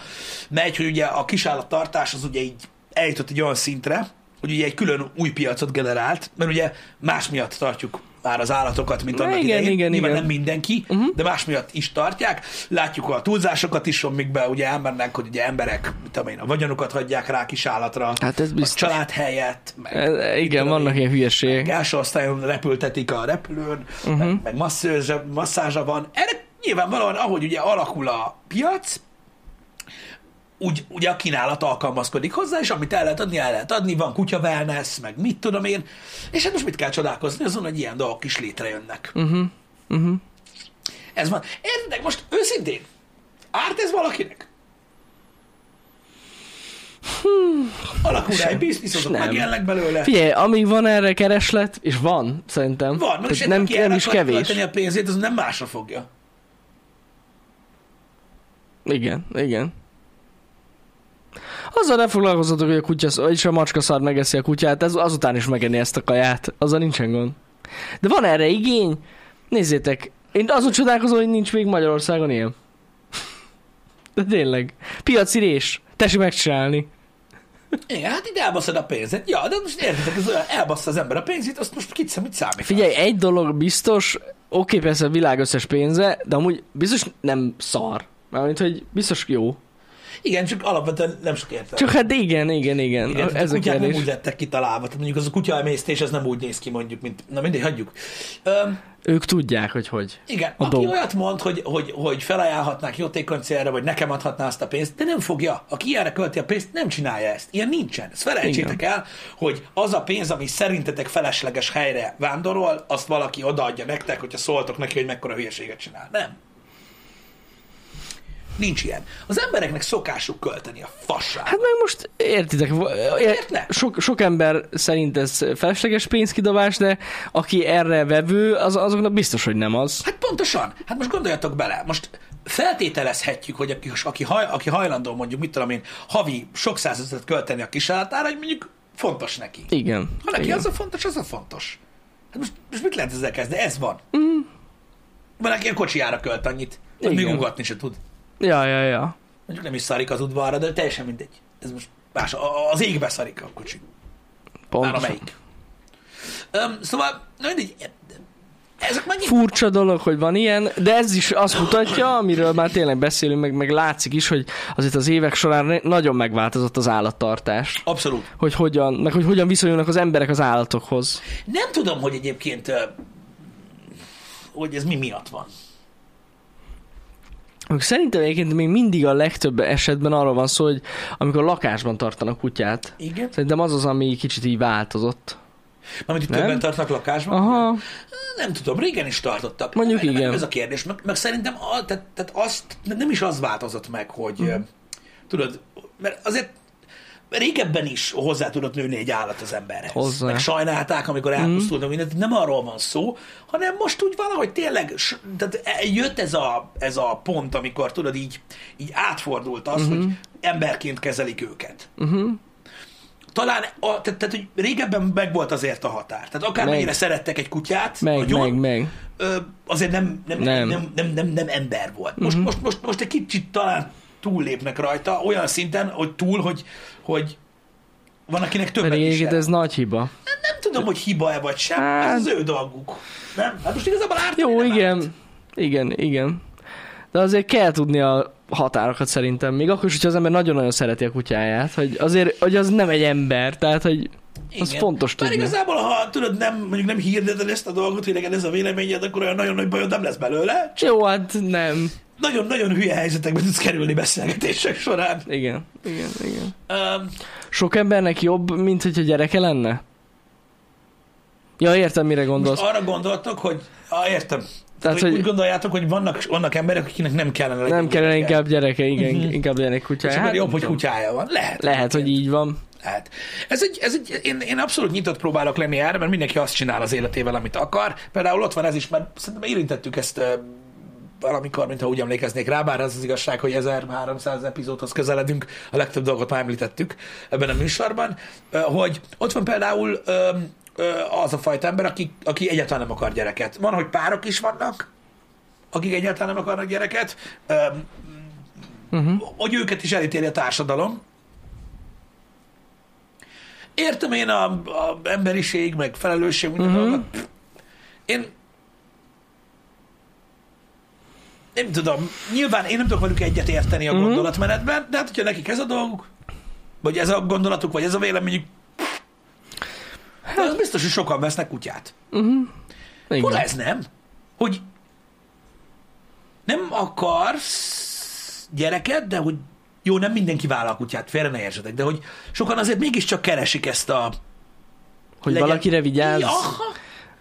Speaker 1: megy, hogy ugye a kisállattartás az ugye így eljutott egy olyan szintre, hogy ugye egy külön új piacot generált, mert ugye más miatt tartjuk már az állatokat, mint
Speaker 2: Na,
Speaker 1: annak
Speaker 2: igen,
Speaker 1: idején.
Speaker 2: igen,
Speaker 1: Nyilván
Speaker 2: igen.
Speaker 1: nem mindenki,
Speaker 2: Mhm.
Speaker 1: uh-huh. de más miatt is tartják. Látjuk a túlzásokat is, amikben ugye elmennek, hogy ugye emberek, mit tudom én, a vagyonukat hagyják rá kis állatra,
Speaker 2: Hát ez
Speaker 1: a
Speaker 2: biztos.
Speaker 1: család helyett, meg
Speaker 2: E, Igen,
Speaker 1: tudom
Speaker 2: vannak
Speaker 1: én,
Speaker 2: ilyen hülyeségek.
Speaker 1: első osztályon repültetik a repülőn, uh-huh. meg, meg masszázsa, masszázsa van. Erre nyilvánvalóan, ahogy ugye alakul a piac, úgy, ugye a kínálat alkalmazkodik hozzá, és amit el lehet adni, el lehet adni, van kutya wellness, meg mit tudom én, és hát most mit kell csodálkozni azon, hogy ilyen dolgok is létrejönnek. Uh-huh. Uh-huh. Ez van. Érdek, most őszintén, árt ez valakinek? Alakul rá egy biznisz, azok
Speaker 2: nem.
Speaker 1: megjelennek belőle.
Speaker 2: Figyelj, amíg van erre kereslet, és van, szerintem.
Speaker 1: Van, meg
Speaker 2: Tehát
Speaker 1: és
Speaker 2: nem,
Speaker 1: aki el
Speaker 2: nem is
Speaker 1: akar
Speaker 2: kevés.
Speaker 1: költeni a pénzét, az nem másra fogja.
Speaker 2: Igen, igen. Azzal ne foglalkozzatok, hogy a kutya, sz- és a macska szar megeszi a kutyát, ez azután is megenni ezt a kaját, azzal nincsen gond. De van erre igény? Nézzétek, én azon csodálkozom, hogy nincs még Magyarországon ilyen. De tényleg. Piacirés. Tessék megcsinálni.
Speaker 1: Igen, hát itt elbaszod a pénzed. Ja, de most értitek, ez olyan, elbassza az ember a pénzét, azt most kicsit mit számít.
Speaker 2: Figyelj, egy dolog biztos, oké, persze a világ összes pénze, de amúgy biztos nem szar. Mármint, hogy biztos jó.
Speaker 1: Igen, csak alapvetően nem sok értelme.
Speaker 2: Csak hát igen, igen, igen.
Speaker 1: Igen,
Speaker 2: igen
Speaker 1: tehát
Speaker 2: ez
Speaker 1: a
Speaker 2: a
Speaker 1: kutyák nem
Speaker 2: kérdés.
Speaker 1: úgy lettek kitalálva. Tehát mondjuk az a kutyaemésztés, ez nem úgy néz ki mondjuk, mint... Na mindegy, hagyjuk. Öm,
Speaker 2: Ők tudják, hogy hogy.
Speaker 1: igen,
Speaker 2: A
Speaker 1: aki
Speaker 2: dolg.
Speaker 1: olyat mond, hogy, hogy, hogy felajánlhatnák jótékony célra, vagy nekem adhatná azt a pénzt, de nem fogja. Aki ilyenre költi a pénzt, nem csinálja ezt. Ilyen nincsen. Ezt felejtsétek el, hogy az a pénz, ami szerintetek felesleges helyre vándorol, azt valaki odaadja nektek, hogyha szóltok neki, hogy mekkora hülyeséget csinál. Nem. Nincs ilyen. Az embereknek szokásuk költeni a fasság.
Speaker 2: Hát meg most értitek, va- ér-
Speaker 1: ne?
Speaker 2: sok, sok ember szerint ez felesleges pénzkidobás, de aki erre vevő, az, azoknak biztos, hogy nem az.
Speaker 1: Hát pontosan. Hát most gondoljatok bele, most feltételezhetjük, hogy aki, aki, haj, aki hajlandó mondjuk, mit tudom én, havi sok százezret költeni a kisállatára, hogy mondjuk fontos neki.
Speaker 2: Igen.
Speaker 1: Ha neki
Speaker 2: igen.
Speaker 1: az a fontos, az a fontos. Hát most, most mit lehet ezzel kezdeni? Ez van. Van, aki a kocsijára költ annyit, hogy még
Speaker 2: Mhm. Igen.
Speaker 1: ugatni se tud.
Speaker 2: Ja, ja, ja.
Speaker 1: Mondjuk nem is szarik az udvarra, de teljesen mindegy. Ez most más. A- a- Az égbe szarik a kocsi. Már
Speaker 2: Pontosan.
Speaker 1: amelyik. Um, szóval, na mindegy, ezek megint
Speaker 2: Furcsa dolog, hogy van ilyen, de ez is azt mutatja, amiről már tényleg beszélünk, meg, meg látszik is, hogy azért az évek során ne- nagyon megváltozott az állattartás.
Speaker 1: Abszolút.
Speaker 2: Hogy hogyan, meg hogy hogyan viszonyulnak az emberek az állatokhoz.
Speaker 1: Nem tudom, hogy egyébként, ö, hogy ez mi miatt van.
Speaker 2: Meg Szerintem egyébként még mindig a legtöbb esetben arról van szó, hogy amikor lakásban tartanak kutyát,
Speaker 1: Igen.
Speaker 2: Szerintem az az, ami kicsit így változott.
Speaker 1: Amit itt
Speaker 2: Nem?
Speaker 1: többen tartnak lakásban?
Speaker 2: Aha,
Speaker 1: Nem tudom, régen is tartottak.
Speaker 2: Mondjuk
Speaker 1: meg,
Speaker 2: igen.
Speaker 1: Meg ez a kérdés, meg, meg szerintem a, tehát,
Speaker 2: Hm.
Speaker 1: tehát azt, nem is az változott meg, hogy mm. tudod, mert azért régebben is hozzá tudott nőni egy állat az emberhez.
Speaker 2: Hozzá. Hm.
Speaker 1: Meg sajnálták, amikor elpusztult, mm. mindent, nem arról van szó, hanem most úgy valahogy tényleg, s- tehát e- jött ez a, ez a pont, amikor tudod, így, így átfordult az, mm-hmm.
Speaker 2: Hm.
Speaker 1: hogy emberként kezelik őket. Mm-hmm. Talán, a, tehát, tehát, hogy régebben megvolt azért a határ. Tehát akármennyire
Speaker 2: Meg.
Speaker 1: szerettek egy kutyát,
Speaker 2: Meg,
Speaker 1: nagyon,
Speaker 2: meg, meg.
Speaker 1: ö, azért nem, nem, nem.
Speaker 2: Nem. Mhm.
Speaker 1: Nem, nem, nem, nem ember volt. Most, uh-huh. most, most, most egy kicsit talán túllépnek rajta, olyan szinten, hogy túl, hogy, hogy van, akinek többet
Speaker 2: Pedig
Speaker 1: is
Speaker 2: egyébként
Speaker 1: jár.
Speaker 2: ez nagy hiba.
Speaker 1: Nem tudom, hogy hiba-e vagy sem,
Speaker 2: Hát-
Speaker 1: hát... ez az ő dolguk. Nem? Hát most igazából árt.
Speaker 2: Jó,
Speaker 1: nem árt.
Speaker 2: igen. Igen, igen. De azért kell tudni a határokat szerintem. Még akkor is, hogyha az ember nagyon-nagyon szereti a kutyáját, hogy azért, hogy az nem egy ember, tehát, hogy az
Speaker 1: Igen.
Speaker 2: fontos
Speaker 1: Már
Speaker 2: tudni.
Speaker 1: igazából, ha tudod, nem, mondjuk nem hirdeted ezt a dolgot, hogy neked ez a véleményed, akkor olyan nagyon nagy bajod nem lesz belőle.
Speaker 2: Jó, hát nem.
Speaker 1: Nagyon-nagyon hülye helyzetekbe tudsz kerülni beszélgetések során.
Speaker 2: Igen, igen, igen.
Speaker 1: Um,
Speaker 2: Sok embernek jobb, mint hogyha gyereke lenne? Ja, értem, mire gondolsz.
Speaker 1: Most arra gondoltok, hogy... Ah, értem. Tehát,
Speaker 2: Tehát,
Speaker 1: hogy,
Speaker 2: hogy-
Speaker 1: úgy gondoljátok, hogy vannak, vannak emberek, akiknek nem kellene legyen
Speaker 2: Nem kellene
Speaker 1: gyereke.
Speaker 2: inkább gyereke, igen,
Speaker 1: Mhm.
Speaker 2: inkább gyerek kutya.
Speaker 1: És akkor
Speaker 2: Hát,
Speaker 1: jobb,
Speaker 2: nem
Speaker 1: hogy
Speaker 2: tudom.
Speaker 1: kutyája van. Lehet.
Speaker 2: Lehet, hogy így van.
Speaker 1: Lehet. Hát, Ez egy, ez egy, én, én abszolút nyitott próbálok lenni erre, mert mindenki azt csinál az életével, amit akar. Például ott van ez is, mert szerintem érintettük ezt ö, valamikor, mintha úgy emlékeznék rá, bár az az igazság, hogy 1300 epizódhoz közeledünk, a legtöbb dolgot már említettük ebben a műsorban, ö, hogy ott van például ö, ö, az a fajta ember, aki, aki egyáltalán nem akar gyereket. Van, hogy párok is vannak, akik egyáltalán nem akarnak gyereket, ö, hogy őket is elítéli a társadalom, Értem én a, a emberiség, meg felelősség, minden uh-huh. dolgot. Pff, Én nem tudom, nyilván én nem tudok velük egyet érteni a gondolatmenetben, de hát hogyha nekik ez a dolguk, vagy ez a gondolatuk, vagy ez a véleményük, de az biztos, hogy sokan vesznek kutyát. Hol
Speaker 2: Igen.
Speaker 1: ez nem? Hogy nem akarsz gyereket, de hogy jó, nem mindenki vállal kutyát, félre ne értsetek, de hogy sokan azért mégiscsak keresik ezt a,
Speaker 2: Hogy
Speaker 1: legyen-
Speaker 2: valakire vigyázz.
Speaker 1: Aha.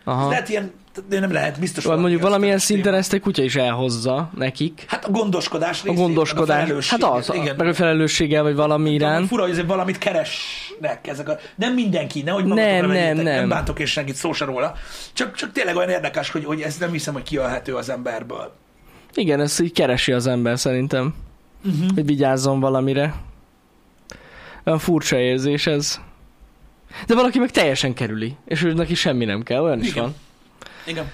Speaker 2: Aha.
Speaker 1: hát Lehet ilyen, de nem lehet, biztos.
Speaker 2: Vagy
Speaker 1: valami
Speaker 2: mondjuk
Speaker 1: olyan
Speaker 2: valamilyen
Speaker 1: szinten-
Speaker 2: szinten ezt a kutya is elhozza nekik.
Speaker 1: Hát a gondoskodás
Speaker 2: A
Speaker 1: részét, meg a
Speaker 2: gondoskodás. Hát
Speaker 1: felelősséget,
Speaker 2: az,
Speaker 1: igen.
Speaker 2: meg a felelősséggel, vagy valami
Speaker 1: Talán
Speaker 2: irán.
Speaker 1: fura, hogy azért valamit keresnek ezek a... Nem mindenki, nehogy magatokra
Speaker 2: Nem, nem,
Speaker 1: vegyétek, nem
Speaker 2: nem.
Speaker 1: bántok és senkit szó se róla. Csak, csak tényleg olyan érdekes, hogy, hogy ez nem hiszem, hogy kiölhető az emberből.
Speaker 2: Igen, ezt így keresi az ember szerintem.
Speaker 1: Mhm.
Speaker 2: Uh-huh. Hogy vigyázzon valamire. Olyan furcsa érzés ez. De valaki meg teljesen kerüli, és ő neki semmi nem kell, olyan is
Speaker 1: Igen.
Speaker 2: van.
Speaker 1: Igen.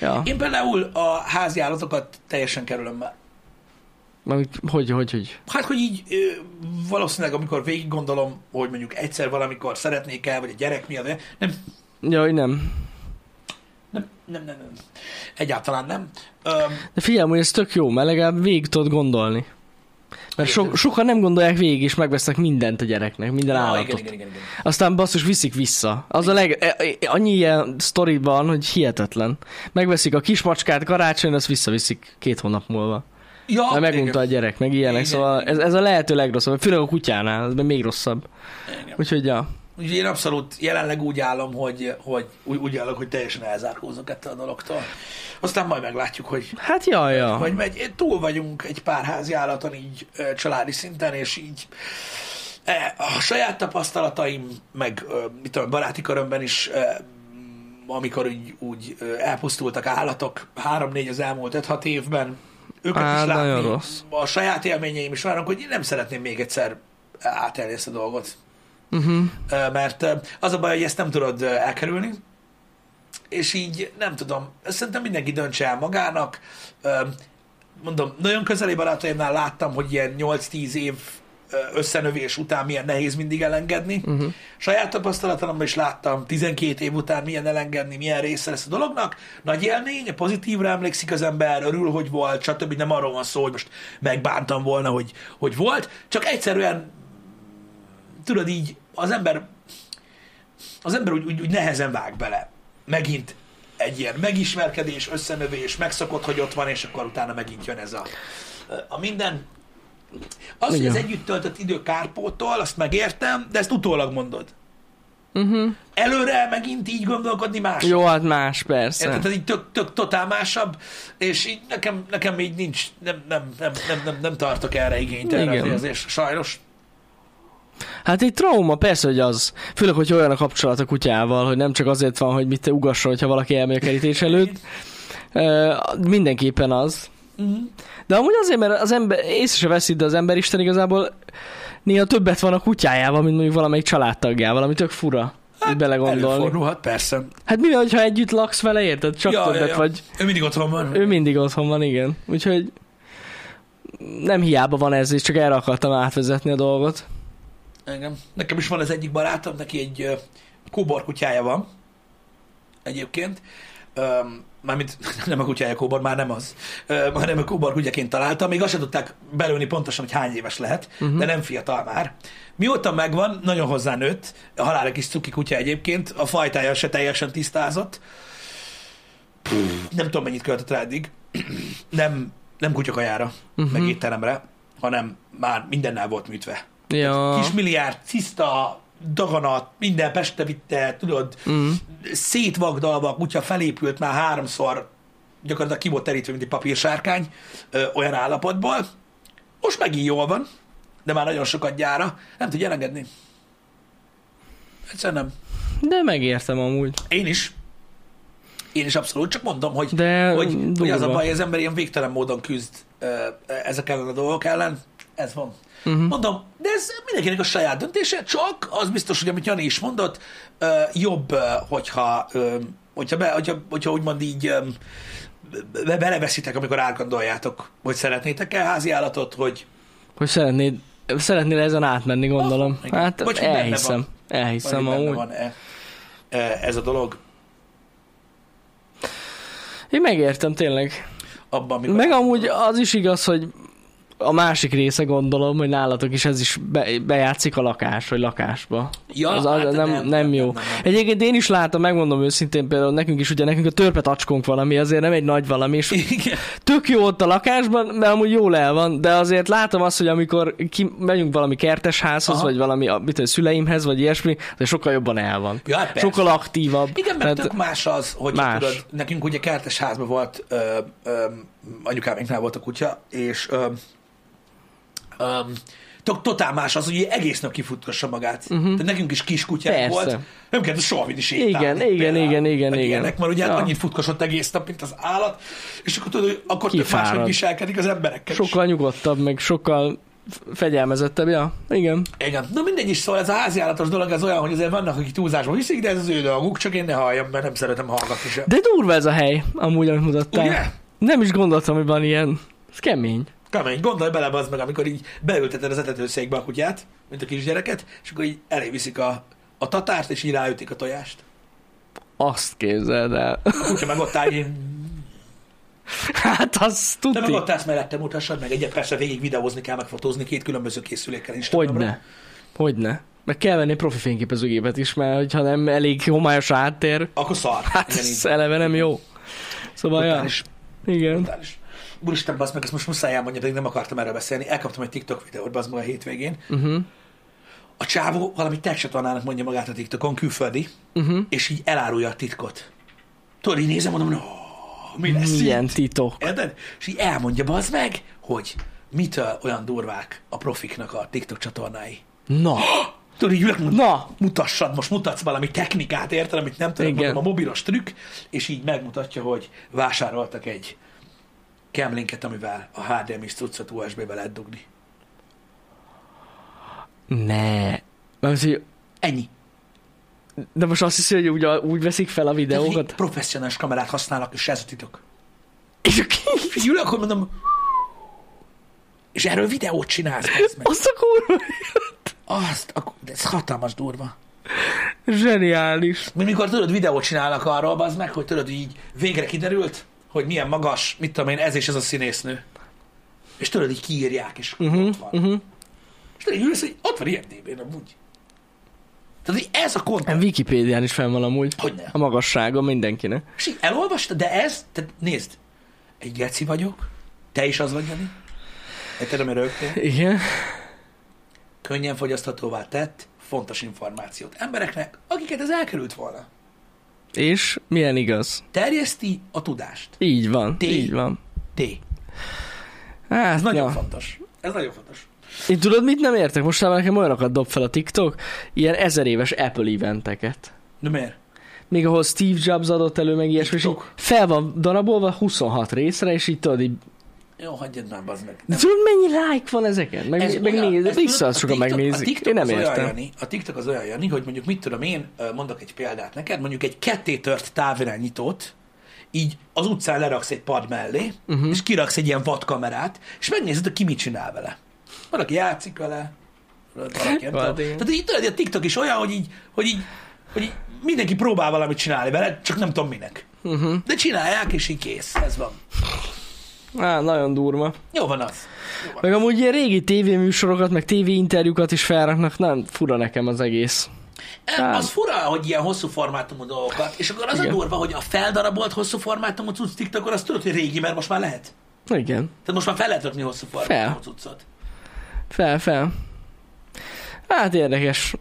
Speaker 2: Ja.
Speaker 1: Én például a házi állatokat teljesen kerülöm már.
Speaker 2: Mármint Hogy, hogy, hogy.
Speaker 1: Hát, hogy így ö, valószínűleg, amikor végig gondolom, hogy mondjuk egyszer valamikor szeretnék el, vagy a gyerek miatt, nem,
Speaker 2: Jaj, nem.
Speaker 1: nem, nem, nem, nem. Egyáltalán nem. Öm,
Speaker 2: De figyelj, hogy ez tök jó, mert legalább végig tudod gondolni. Mert so,
Speaker 1: Igen.
Speaker 2: sokan nem gondolják végig, és megvesznek mindent a gyereknek, minden
Speaker 1: ah,
Speaker 2: állatot.
Speaker 1: igen, igen, igen, igen.
Speaker 2: Aztán basszus viszik vissza. Az a leg... e- e- Annyi ilyen sztori van, hogy hihetetlen. Megveszik a kismacskát karácsonyra, azt visszaviszik két hónap múlva.
Speaker 1: Ja,
Speaker 2: Mert megunta
Speaker 1: Ah, igen.
Speaker 2: a gyerek, meg ilyenek.
Speaker 1: Igen.
Speaker 2: Szóval ez, ez a lehető legrosszabb. Főleg a kutyánál, ez még rosszabb.
Speaker 1: Igen.
Speaker 2: Úgyhogy ja.
Speaker 1: Úgyhogy én abszolút jelenleg úgy állom, hogy, hogy úgy, úgy állok, hogy teljesen elzárkózok ettől a dologtól. Aztán majd meglátjuk, hogy
Speaker 2: Hát jaj, ja.
Speaker 1: hogy megy. Túl vagyunk egy pár házi állaton így ö, családi szinten, és így e, a saját tapasztalataim, meg ö, mit tudom, baráti körömben is, ö, amikor úgy, úgy ö, elpusztultak állatok, három-négy az elmúlt 5-6 évben, őket
Speaker 2: Á,
Speaker 1: is látni,
Speaker 2: nagyon rossz.
Speaker 1: a saját élményeim is olyanok, hogy én nem szeretném még egyszer átelni ezt a dolgot.
Speaker 2: Mhm.
Speaker 1: Uh-huh. Mert ö, az a baj, hogy ezt nem tudod ö, elkerülni, és így nem tudom, szerintem mindenki döntse el magának. Ö, Mondom, nagyon közeli barátaimnál láttam, hogy ilyen 8-10 év ö, összenövés után milyen nehéz mindig elengedni. Uh-huh. Saját tapasztalatomban is láttam 12 év után milyen elengedni, milyen része lesz a dolognak. Nagy élmény, pozitívra emlékszik az ember, örül, hogy volt, stb. Nem arról van szó, hogy most megbántam volna, hogy, hogy volt, csak egyszerűen tudod így, az ember az ember úgy, úgy, úgy nehezen vág bele. Megint egy ilyen megismerkedés, összenövés, megszokott, hogy ott van, és akkor utána megint jön ez a, a minden. Az, hogy
Speaker 2: Igen.
Speaker 1: az együtt töltött idő kárpótól, azt megértem, de ezt utólag mondod.
Speaker 2: Uh-huh.
Speaker 1: Előre megint így gondolkodni más.
Speaker 2: Jó, hát más, persze.
Speaker 1: Érted? Tehát így tök, tök totál másabb, és így nekem, nekem így nincs, nem, nem, nem, nem, nem, nem tartok erre igényt, erre
Speaker 2: Igen.
Speaker 1: az érzés, sajnos.
Speaker 2: Hát egy trauma, persze, hogy az. Főleg, hogy olyan a kapcsolat a kutyával, hogy nem csak azért van, hogy mit te ugassa, hogyha valaki elmegy a kerítés előtt. Ö, mindenképpen az.
Speaker 1: Mhm.
Speaker 2: De amúgy azért, mert az ember észre se veszi, de az ember Isten igazából néha többet van a kutyájával, mint mondjuk valamelyik családtagjával, ami tök fura. Hát, belegondolni.
Speaker 1: Előfordulhat, persze.
Speaker 2: Hát mi van, ha együtt laksz vele, érted? Csak ja, többet ja, ja. vagy.
Speaker 1: Ő mindig otthon van.
Speaker 2: Ő mindig otthon van, igen. Úgyhogy nem hiába van ez, és csak erre akartam átvezetni a dolgot.
Speaker 1: Engem. Nekem is van az egyik barátom, neki egy ö, kóbor kutyája van. Egyébként. Öm, mármint nem a kutyája kóbor, már nem az. Öm, hanem a kóbor kutyaként találtam. Még azt sem tudták belőni pontosan, hogy hány éves lehet, uh-huh. de nem fiatal már. Mióta megvan, nagyon hozzánőtt. A halára kis cuki kutya egyébként. A fajtája se teljesen tisztázott. Nem tudom, mennyit költött rá eddig. nem, nem kutyakajára, uh-huh. meg étteremre, hanem már mindennel volt műtve.
Speaker 2: Ja.
Speaker 1: Hát, Kis milliárd, ciszta, daganat, minden peste vitte, tudod,
Speaker 2: Mm.
Speaker 1: szétvagdalva a kutya felépült már háromszor, gyakorlatilag ki volt terítve, mint egy papírsárkány, ö, olyan állapotból. Most megint jól van, de már nagyon sokat gyára, nem tudja elengedni. Egyszerűen nem.
Speaker 2: De megértem amúgy.
Speaker 1: Én is. Én is abszolút, csak mondom, hogy,
Speaker 2: De
Speaker 1: hogy, hogy az a
Speaker 2: durva.
Speaker 1: baj, az ember ilyen végtelen módon küzd ö, ezek ellen a dolgok ellen. Ez van.
Speaker 2: Mhm.
Speaker 1: Mondom, de ez mindenkinek a saját döntése, csak az biztos, hogy amit Jani is mondott, ö, jobb, ö, hogyha, ö, hogyha, be, hogyha, hogyha úgymond így ö, be, beleveszitek, amikor átgondoljátok, hogy szeretnétek-e házi állatot, hogy
Speaker 2: Hogy szeretnéd, szeretnél ezen átmenni, gondolom.
Speaker 1: igen.
Speaker 2: Hát
Speaker 1: Vagy hogy benne
Speaker 2: elhiszem.
Speaker 1: vagy hogy
Speaker 2: Elhiszem
Speaker 1: benne
Speaker 2: amúgy.
Speaker 1: van-e ö, ez a dolog
Speaker 2: Én megértem tényleg.
Speaker 1: abban, amikor...
Speaker 2: Meg amúgy az is igaz, hogy a másik része gondolom, hogy nálatok is ez is be, bejátszik a lakás, vagy lakásba.
Speaker 1: Ja,
Speaker 2: az, az
Speaker 1: hát
Speaker 2: nem, nem, nem jó.
Speaker 1: nem, nem.
Speaker 2: Egyébként én is látom, megmondom őszintén, például nekünk is, ugye nekünk a törpe tacskónk van, ami azért nem egy nagy valami, és
Speaker 1: Igen.
Speaker 2: tök jó ott a lakásban, mert amúgy jól el van, de azért látom azt, hogy amikor ki, megyünk valami kertes házhoz,
Speaker 1: Aha.
Speaker 2: vagy valami a, mit, tudom, szüleimhez, vagy ilyesmi, de sokkal jobban el van.
Speaker 1: Ja, hát persze.
Speaker 2: sokkal aktívabb.
Speaker 1: Igen, mert tök más az, hogy
Speaker 2: Hát, Más.
Speaker 1: tudod, nekünk ugye kertes házban volt, ö, ö, anyukáméknál volt a kutya, és ö, ö, tök, totál más az, hogy ilyen egész nap kifutkassa magát. Uh-huh. Tehát nekünk is kis kutyák
Speaker 2: Mhm. Persze.
Speaker 1: volt, nem kellett soha vinni sétálni.
Speaker 2: Igen, igen, igen, igen,
Speaker 1: meg
Speaker 2: igen.
Speaker 1: Ilyenek, mert ugye ja.
Speaker 2: Ja.
Speaker 1: annyit futkosott egész nap, mint az állat, és akkor tudod, hogy akkor tök
Speaker 2: Kifárad.
Speaker 1: máshogy viselkedik az emberekkel is.
Speaker 2: Sokkal nyugodtabb, meg sokkal f- fegyelmezettebb, ja. Igen.
Speaker 1: Igen. Na mindegy is, szóval ez a háziállatos dolog, ez olyan, hogy azért vannak, akik túlzásba viszik, de ez az ő dolguk, csak én ne halljam, mert nem szeretem hallgatni sem.
Speaker 2: De durva ez a hely, amúgy, amit mutattál.
Speaker 1: Ugye?
Speaker 2: Nem is gondoltam, hogy van ilyen. Ez kemény.
Speaker 1: Kemény, gondolj bele az meg, amikor így beülteted az etetőszékbe a kutyát, mint a kisgyereket, és akkor így elé viszik a, a tatárt, és így ráütik a tojást.
Speaker 2: Azt képzeld el.
Speaker 1: A kutya meg ott áll, így,
Speaker 2: Hát az
Speaker 1: de meg
Speaker 2: tuti.
Speaker 1: ott állsz mellette, mutassad meg egyet, persze végig videózni kell, megfotózni két különböző készülékkel is.
Speaker 2: Hogyne. Hogyne. Meg kell venni profi fényképezőgépet is, mert hogyha nem elég homályos a háttér,
Speaker 1: Akkor szar.
Speaker 2: hát
Speaker 1: Igen, így.
Speaker 2: ez eleve nem jó. Szóval, ja,
Speaker 1: Brutális.
Speaker 2: igen.
Speaker 1: Brutális. Úristen, bazd meg, ezt most muszáj elmondjam, pedig nem akartam erről beszélni. Elkaptam egy TikTok videót, bazd meg a hétvégén.
Speaker 2: Uh-huh.
Speaker 1: A csávó valami tanának mondja magát a TikTokon, külföldi,
Speaker 2: Uh-huh.
Speaker 1: és így elárulja a titkot. Tudod, így nézem, mondom, no, mi lesz így?
Speaker 2: Milyen titok.
Speaker 1: Érted? És így elmondja bazd meg, hogy mitől olyan durvák a profiknak a TikTok csatornái.
Speaker 2: Na,
Speaker 1: Tudod, így ülök, mondom,
Speaker 2: na,
Speaker 1: mutassad, most mutatsz valami technikát, érted, amit nem tudom,
Speaker 2: Igen.
Speaker 1: mondom, a mobilos trükk, és így megmutatja, hogy vásároltak egy camlinket, amivel a HDMI-s cuccot USB-be lehet dugni.
Speaker 2: ne. Mert, hogy-
Speaker 1: Ennyi.
Speaker 2: de most azt hiszi, hogy úgy, úgy veszik fel a
Speaker 1: Tehát, hogy
Speaker 2: videókat?
Speaker 1: professzionális kamerát használnak, és ez a titok.
Speaker 2: És akkor-
Speaker 1: És így ülök, hogy mondom, és erről videót csinálsz, bazd meg.
Speaker 2: Azt a kurva.
Speaker 1: Azt, a- de ez hatalmas durva.
Speaker 2: Zseniális.
Speaker 1: Mint mikor tudod, videót csinálnak arról, az meg, hogy tudod, így végre kiderült, hogy milyen magas, mit tudom én, ez és ez a színésznő. És tudod, így kiírják, és uh-huh, ott van. Uh-huh. És tudod, így ülsz, hogy ott van IMDb-n amúgy. Tehát, hogy ez a
Speaker 2: A
Speaker 1: kontent,
Speaker 2: Wikipédián is fenn van amúgy.
Speaker 1: hogy ne.
Speaker 2: A magassága mindenkinek.
Speaker 1: És így elolvastad, de ez, tehát nézd, egy geci vagyok, te is az vagy, Jani. Érted, ami rögtön.
Speaker 2: Igen.
Speaker 1: Könnyen fogyaszthatóvá tett fontos információt embereknek, akiket ez elkerült volna.
Speaker 2: És milyen igaz.
Speaker 1: Terjeszti a tudást.
Speaker 2: Így van.
Speaker 1: Tény.
Speaker 2: Így van.
Speaker 1: T.
Speaker 2: Hát,
Speaker 1: Ez Hát, nagyon
Speaker 2: ja.
Speaker 1: fontos. Ez nagyon fontos.
Speaker 2: Én tudod, mit nem értek? Mostában nekem olyanokat dob fel a TikTok, ilyen ezer éves Apple eventeket.
Speaker 1: De miért?
Speaker 2: Még ahol Steve Jobs adott elő, meg ilyesmi, és így
Speaker 1: TikTok.
Speaker 2: fel van darabolva 26 részre, és így tudod, így...
Speaker 1: Jó, hagyjad már, bazd meg.
Speaker 2: De
Speaker 1: Nem.
Speaker 2: tudod, mennyi like van ezeken? Meg,
Speaker 1: Ez
Speaker 2: meg
Speaker 1: olyan-
Speaker 2: néz,
Speaker 1: ez tudod,
Speaker 2: vissza azt sokan
Speaker 1: a TikTok- a
Speaker 2: megnézik.
Speaker 1: TikTok
Speaker 2: Én nem
Speaker 1: az olyan,
Speaker 2: értem.
Speaker 1: Jani, a TikTok az olyan, Jani, hogy mondjuk mit tudom én, ö, mondok egy példát neked, mondjuk egy kettétört távirányítót, így az utcán leraksz egy pad mellé,
Speaker 2: Mhm.
Speaker 1: uh-huh. és kiraksz egy ilyen vadkamerát, és megnézed, hogy ki mit csinál vele. Van, aki játszik vele, van, aki nem
Speaker 2: Van,
Speaker 1: tudom.
Speaker 2: igen.
Speaker 1: Tehát így tudod, a TikTok is olyan, hogy így, hogy így, hogy így mindenki próbál valamit csinálni vele, csak nem tudom minek.
Speaker 2: Mhm.
Speaker 1: Uh-huh. De csinálják, és így kész, ez van.
Speaker 2: Á, nagyon durva.
Speaker 1: Jó van az.
Speaker 2: Meg amúgy ilyen régi tévéműsorokat, meg tévéinterjúkat is felraknak, nem fura nekem az egész.
Speaker 1: Nem, az fura, hogy ilyen hosszú formátumú dolgokat, és akkor az Igen.
Speaker 2: Hát. Igen.
Speaker 1: a durva, hogy a feldarabolt hosszú formátumú cucc TikTokon, azt tudod, hogy régi, mert most már lehet.
Speaker 2: Igen.
Speaker 1: Tehát most már fel lehet rakni hosszú formátumú
Speaker 2: Fel.
Speaker 1: cuccot.
Speaker 2: Fel, fel. Hát érdekes.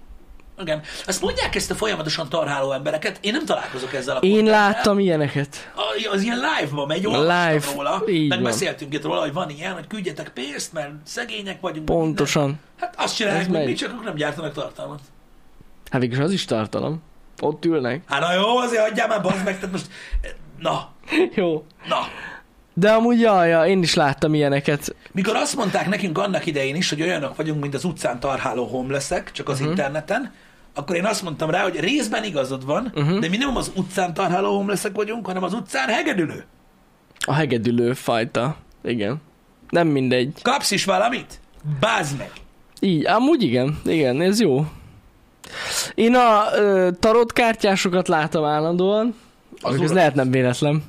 Speaker 1: Igen. Ezt mondják ezt a folyamatosan tarháló embereket, én nem találkozok ezzel a
Speaker 2: Én
Speaker 1: kontentel.
Speaker 2: láttam ilyeneket.
Speaker 1: A- Az ilyen live-ba megy, olvastam
Speaker 2: Live.
Speaker 1: róla,
Speaker 2: Így van.
Speaker 1: megbeszéltünk itt róla, hogy van ilyen, hogy küldjetek pénzt, mert szegények vagyunk. meg
Speaker 2: Pontosan.
Speaker 1: minden. Hát azt csinálják,
Speaker 2: Ez
Speaker 1: mint
Speaker 2: megy.
Speaker 1: mi, csak ők nem gyártanak tartalmat.
Speaker 2: Hát végülis az is tartalom. Ott ülnek.
Speaker 1: Hát na jó, azért adjál már, bazd meg, tehát most... eh, Na,
Speaker 2: Jó.
Speaker 1: na,
Speaker 2: De amúgy jaj, jaj, én is láttam ilyeneket.
Speaker 1: Mikor azt mondták nekünk annak idején is, hogy olyanok vagyunk, mint az utcán tarháló homelessek, csak az
Speaker 2: Mhm.
Speaker 1: uh-huh. interneten, akkor én azt mondtam rá, hogy részben igazad van,
Speaker 2: Mhm.
Speaker 1: uh-huh. de mi nem az utcán tarháló homelessek vagyunk, hanem az utcán hegedülő.
Speaker 2: A hegedülő fajta. Igen. Nem mindegy.
Speaker 1: Kapsz is valamit? Bázd meg!
Speaker 2: Így, amúgy igen. Igen, ez jó. Én a ö, tarotkártyásokat látom állandóan. Az ez
Speaker 1: urat.
Speaker 2: lehet nem véletlen.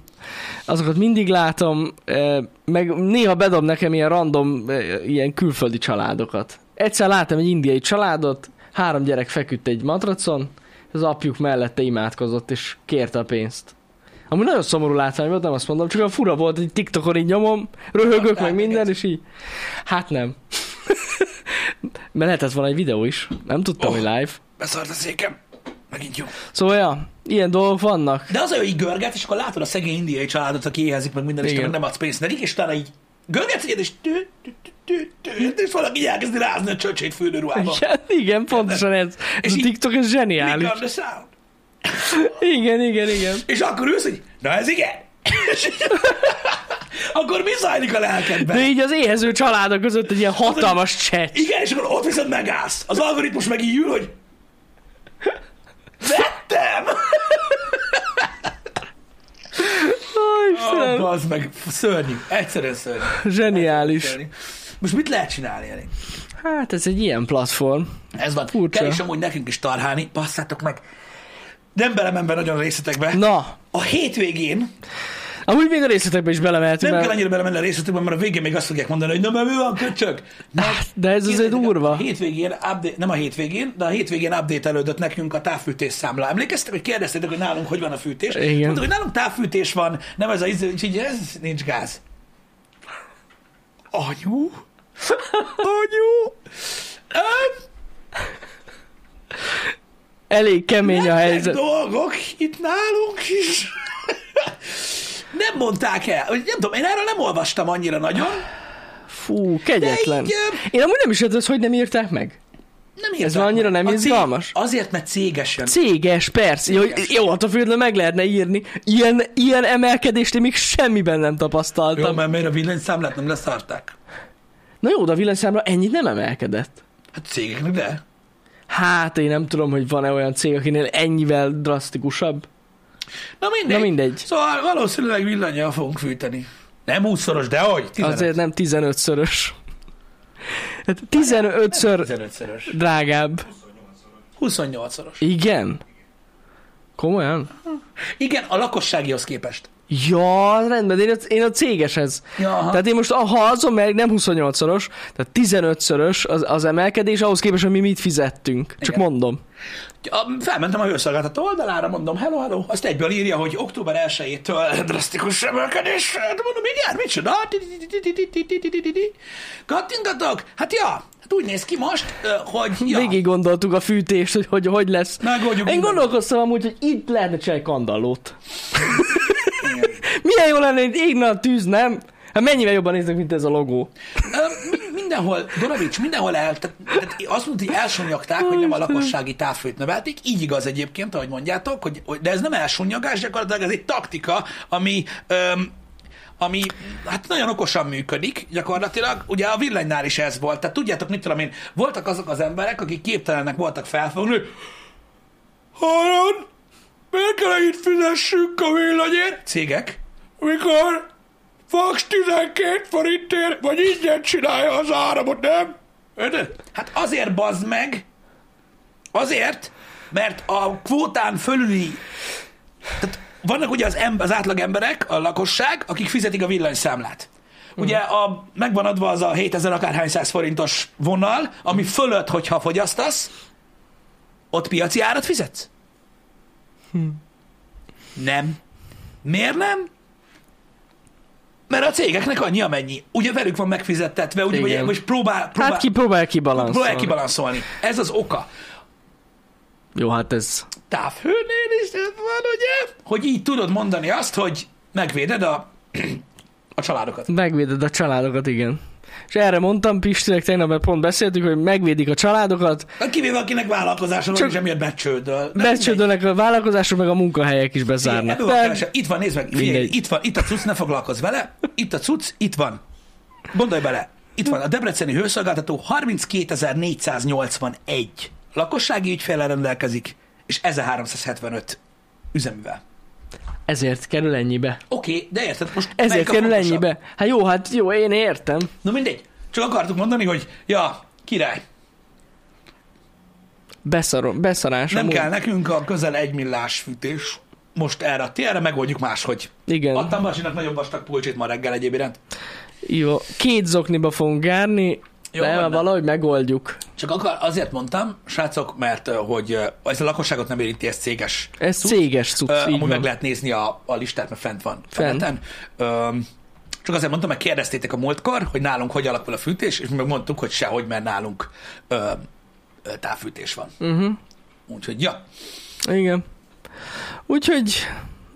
Speaker 2: Azokat mindig látom, ö, meg néha bedob nekem ilyen random, ö, ilyen külföldi családokat. Egyszer láttam egy indiai családot, három gyerek feküdt egy matracon, az apjuk mellette imádkozott, és kérte a pénzt. Ami nagyon szomorú látvány volt, nem azt mondom, csak a fura volt, hogy TikTokon így nyomom, röhögök,
Speaker 1: Kaptál
Speaker 2: meg minden,
Speaker 1: neked?
Speaker 2: és így... Hát nem. Mert lehetett volna egy videó is. Nem tudtam,
Speaker 1: Oh.
Speaker 2: hogy live.
Speaker 1: Beszart a székem. Megint jó.
Speaker 2: Szóval, ja, ilyen dolgok vannak.
Speaker 1: De az a jó, így görget, és akkor látod a szegény indiai családot, aki éhezik meg minden, és te
Speaker 2: Igen.
Speaker 1: meg nem adsz pénzt nekik, és utána így görgetsz egyet, és tű, tű, tű, tű, tű, és valaki így elkezdi rázni a csöcsét fürdőruhába.
Speaker 2: Igen, igen, pontosan ez. ez
Speaker 1: És
Speaker 2: a
Speaker 1: így-
Speaker 2: TikTok ez
Speaker 1: Click
Speaker 2: zseniális.
Speaker 1: on the sound.
Speaker 2: Igen, igen, igen.
Speaker 1: És akkor ülsz, hogy na ez igen. És így- akkor mi zajlik a lelkedben?
Speaker 2: De így az éhező családok között egy ilyen hatalmas chat.
Speaker 1: Igen, és akkor ott viszont megállsz. Az algoritmus meg így ül, hogy vettem! Oh,
Speaker 2: Ó, Istenem,
Speaker 1: az meg szörnyű. Egyszerűen szörnyű.
Speaker 2: zseniális.
Speaker 1: Szörnyű. Most mit lehet csinálni, Jani?
Speaker 2: Hát ez egy ilyen platform.
Speaker 1: Ez van.
Speaker 2: Furcsa.
Speaker 1: Kell is amúgy nekünk is tarhálni. Passzátok meg. Nem belemenve nagyon részletekbe.
Speaker 2: Na,
Speaker 1: A hétvégén
Speaker 2: amúgy még a részletekbe is belemehetünk,
Speaker 1: nem kell
Speaker 2: mert...
Speaker 1: annyira belemenni a részletekbe, mert a végén még azt fogják mondani, hogy na, mert mi van, köcsög? Meg-
Speaker 2: Ah, De ez azért
Speaker 1: Képzeljétek el, A
Speaker 2: durva.
Speaker 1: hétvégén, update, nem a hétvégén, de a hétvégén update elődött nekünk a távfűtés számla. Emlékeztek, hogy kérdeztétek, hogy nálunk hogy van a fűtés?
Speaker 2: Igen.
Speaker 1: Mondtuk, hogy nálunk távfűtés van, nem ez a íz, és így ez nincs gáz. Anyu? Anyu? Öm,
Speaker 2: Elég kemény a
Speaker 1: Ezek
Speaker 2: helyzet.
Speaker 1: dolgok itt nálunk is. Nem mondták el, hogy nem tudom, én erről nem olvastam annyira nagyon.
Speaker 2: Fú, kegyetlen.
Speaker 1: De így,
Speaker 2: Én amúgy nem is értem, ezt, hogy nem írták meg.
Speaker 1: Nem írták
Speaker 2: Ez már annyira
Speaker 1: meg.
Speaker 2: nem
Speaker 1: A cég-
Speaker 2: izgalmas?
Speaker 1: Azért, mert cégesen.
Speaker 2: Céges, persze. Jó,
Speaker 1: Céges.
Speaker 2: jó hát a fődlő meg lehetne írni. Ilyen, ilyen emelkedést én még semmiben nem
Speaker 1: Jó,
Speaker 2: tapasztaltam.
Speaker 1: mert miért a villanyszámlát nem leszarták?
Speaker 2: Na jó, de a villanyszámra ennyit nem emelkedett.
Speaker 1: Hát cégeknek de.
Speaker 2: Hát én nem tudom, hogy van-e olyan cég, akinél ennyivel drasztikusabb.
Speaker 1: Na mindegy.
Speaker 2: Na mindegy.
Speaker 1: Szóval valószínűleg villanyjal fogunk fűteni. Nem 20-szoros, de hogy? 15.
Speaker 2: Azért nem 15-szörös. Hát 15-ször
Speaker 1: 15-szoros.
Speaker 2: drágább.
Speaker 1: 28-szoros.
Speaker 2: Igen? Komolyan?
Speaker 1: Igen, a lakosságihoz képest.
Speaker 2: Ja, rendben, de én a, én a cégeshez.
Speaker 1: Ja, aha.
Speaker 2: Tehát én most, ah, ha azon meg nem 28-szoros, tehát 15-szörös az, az emelkedés, ahhoz képest, hogy mi mit fizettünk. Csak
Speaker 1: Igen.
Speaker 2: mondom.
Speaker 1: A- Felmentem a hőszolgáltató oldalára, mondom, hello, hello, azt egyből írja, hogy október 1-től drasztikus emelkedés, de mondom, igen, micsoda? Ti-ti-ti-ti-ti-ti-ti-ti-ti. Kattintatok? Hát ja, hát úgy néz ki most, ö, hogy ja.
Speaker 2: Végig gondoltuk a fűtést, hogy hogy, hogy lesz.
Speaker 1: Megoldjuk
Speaker 2: Én
Speaker 1: mindent.
Speaker 2: gondolkoztam amúgy, hogy itt lehetne csinálni kandallót. Milyen jó lenne, hogy égne a tűz, nem? Hát mennyivel jobban néznek, mint ez a logó.
Speaker 1: Ö, mi- mi- mindenhol, Doravics, mindenhol el, tehát, tehát azt mondta, hogy elsúnyogták, hogy nem a lakossági távfőt növelték. Így igaz egyébként, ahogy mondjátok, hogy, hogy de ez nem elsúnyogás, gyakorlatilag ez egy taktika, ami öm, ami hát nagyon okosan működik gyakorlatilag. Ugye a villanynál is ez volt. Tehát tudjátok, mit tudom én, voltak azok az emberek, akik képtelenek voltak felfogni, hogy Haran, miért kell itt fizessünk a villanyért? Cégek. Mikor fax 12 forintért, vagy ingyen csinálja az áramot, nem? Érted? Hát azért bazd meg, azért, mert a kvótán fölüli vannak ugye az, ember, az átlag emberek, a lakosság, akik fizetik a villanyszámlát. Ugye a, megvan adva az a 7000 akárhány száz forintos vonal, ami fölött, hogyha fogyasztasz, ott piaci árat fizetsz? Nem. Miért nem? Mert a cégeknek annyi amennyi. Ugye velük van megfizettetve, ugye, ugye
Speaker 2: Igen.
Speaker 1: most próbál, próbál,
Speaker 2: Hát ki próbál kibalanszolni.
Speaker 1: próbál kibalanszolni. Ez az oka.
Speaker 2: Jó, hát ez...
Speaker 1: távhőnél is ez van, ugye? Hogy így tudod mondani azt, hogy megvéded a, a családokat.
Speaker 2: Megvéded a családokat, igen. És erre mondtam Pistinek, tegnap mert pont beszéltük, hogy megvédik a családokat,
Speaker 1: Na, Hát Kivéve akinek vállalkozása van,
Speaker 2: Csak-
Speaker 1: és emiatt becsődöl. Na,
Speaker 2: becsődölnek a vállalkozások, meg a munkahelyek is
Speaker 1: figyelj,
Speaker 2: bezárnak.
Speaker 1: ebből van
Speaker 2: De-
Speaker 1: kevesebb. Itt van, nézd meg, figyelj,
Speaker 2: Mindegy.
Speaker 1: itt van, itt a cucc, ne foglalkozz vele. Itt a cucc, itt van. Gondolj bele, itt van a Debreceni Hőszolgáltató 32.481 lakossági ügyféllel rendelkezik, és 1375 üzemivel.
Speaker 2: Ezért kerül ennyibe.
Speaker 1: Oké, okay, de érted, most melyik
Speaker 2: Ezért
Speaker 1: a
Speaker 2: kerül
Speaker 1: fontosabb?
Speaker 2: ennyibe. Hát jó, hát jó, én értem.
Speaker 1: Na mindegy, csak akartuk mondani, hogy ja, király,
Speaker 2: Beszarom, beszarás.
Speaker 1: Nem
Speaker 2: amúgy.
Speaker 1: kell nekünk a közel egy millás fűtés. Most erre a térre megoldjuk máshogy.
Speaker 2: Igen.
Speaker 1: Adtam Basinak nagyon vastag pulcsit ma reggel egyéb iránt.
Speaker 2: Jó, két zokniba fogunk járni,
Speaker 1: Jó,
Speaker 2: Jó, de
Speaker 1: van,
Speaker 2: nem.
Speaker 1: nem.
Speaker 2: valahogy megoldjuk.
Speaker 1: Csak akar, azért mondtam, srácok, mert ö, hogy ö, ez a lakosságot nem érinti, ez céges.
Speaker 2: Ez céges cucc,
Speaker 1: Ö,
Speaker 2: így
Speaker 1: amúgy
Speaker 2: van.
Speaker 1: meg lehet nézni a, a listát, mert fent van.
Speaker 2: Fent.
Speaker 1: a neten. Ö, csak azért mondtam, mert kérdeztétek a múltkor, hogy nálunk hogy alakul a fűtés, és mi meg mondtuk, hogy sehogy, mert nálunk ö, ö, távfűtés van. Uh-huh.
Speaker 2: Mhm.
Speaker 1: Úgyhogy, ja.
Speaker 2: Igen. Úgyhogy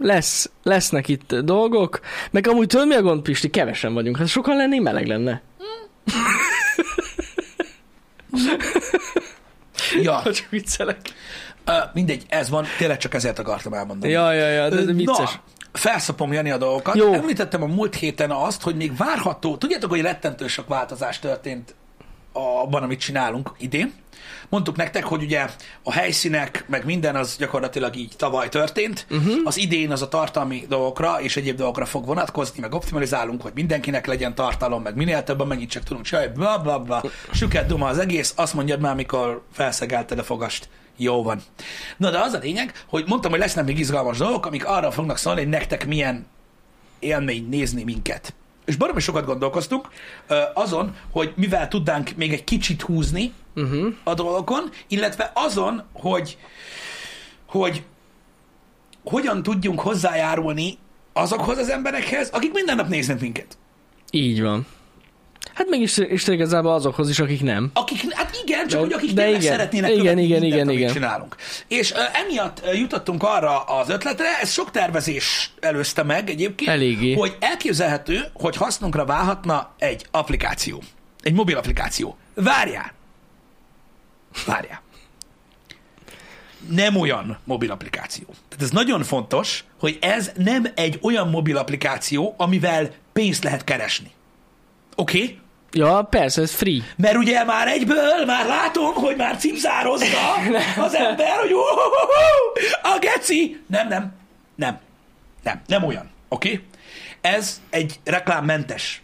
Speaker 2: lesz, lesznek itt dolgok, meg amúgy tudod mi a gond, Pisti? Kevesen vagyunk. Ha sokan lennénk, meleg lenne.
Speaker 1: ja.
Speaker 2: Ha csak viccelek.
Speaker 1: Ö, mindegy, ez van, tényleg csak ezért akartam elmondani.
Speaker 2: Ja, ja, ja, de
Speaker 1: Ö,
Speaker 2: ez vicces.
Speaker 1: Na, felszapom Jani a dolgokat. Jó.
Speaker 2: Jó.
Speaker 1: Említettem a múlt héten azt, hogy még várható, tudjátok, hogy rettentő sok változás történt abban, amit csinálunk idén. Mondtuk nektek, hogy ugye a helyszínek, meg minden az gyakorlatilag így tavaly történt. Uh-huh. Az idén az a tartalmi dolgokra és egyéb dolgokra fog vonatkozni, meg optimalizálunk, hogy mindenkinek legyen tartalom, meg minél többen mennyit csak tudunk csinálni, bla bla bla. Süket duma az egész, azt mondjad már, mikor felszegelted a fogast. Jó van. Na de az a lényeg, hogy mondtam, hogy lesznek még izgalmas dolgok, amik arra fognak szólni, hogy nektek milyen élmény nézni minket. És baromi sokat gondolkoztunk ö, azon, hogy mivel tudnánk még egy kicsit húzni uh-huh. a dolgokon, illetve azon, hogy, hogy hogyan tudjunk hozzájárulni azokhoz az emberekhez, akik minden nap néznek minket.
Speaker 2: Így van. Hát meg is, is igazából azokhoz is, akik nem.
Speaker 1: Akik, hát igen, csak
Speaker 2: De-
Speaker 1: hogy akik
Speaker 2: de
Speaker 1: tényleg
Speaker 2: igen.
Speaker 1: szeretnének
Speaker 2: Igen,
Speaker 1: követni
Speaker 2: igen,
Speaker 1: mindent,
Speaker 2: igen,
Speaker 1: amit
Speaker 2: igen.
Speaker 1: csinálunk. És ö, emiatt ö, jutottunk arra az ötletre, ez sok tervezés előzte meg egyébként,
Speaker 2: Eléggé.
Speaker 1: hogy elképzelhető, hogy hasznunkra válhatna egy applikáció. Egy mobil applikáció. Várjál! Várjál. Nem olyan mobil applikáció. Tehát ez nagyon fontos, hogy ez nem egy olyan mobil applikáció, amivel pénzt lehet keresni. Oké? Okay?
Speaker 2: Ja, persze, ez free.
Speaker 1: Mert ugye már egyből, már látom, hogy már címzározza az ember, hogy ó, a geci. Nem, nem, nem, nem, nem olyan, oké? Okay? Ez egy reklámmentes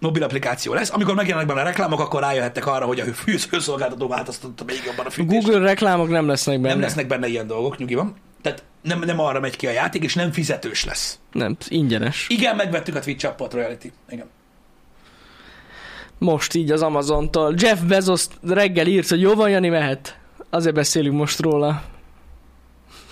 Speaker 1: mobil applikáció lesz. Amikor megjelennek benne a reklámok, akkor rájöhettek arra, hogy a hő- hőszolgáltató változtatta még jobban a fűtést.
Speaker 2: Google reklámok nem lesznek benne.
Speaker 1: Nem lesznek benne ilyen dolgok, nyugi van. Tehát nem, nem arra megy ki a játék, és nem fizetős lesz.
Speaker 2: Nem, ingyenes.
Speaker 1: Igen, megvettük a Twitch appot, Royalty. Igen.
Speaker 2: Most így az Amazontól. Jeff Bezos reggel írt, hogy jó van, Jani, mehet. Azért beszélünk most róla.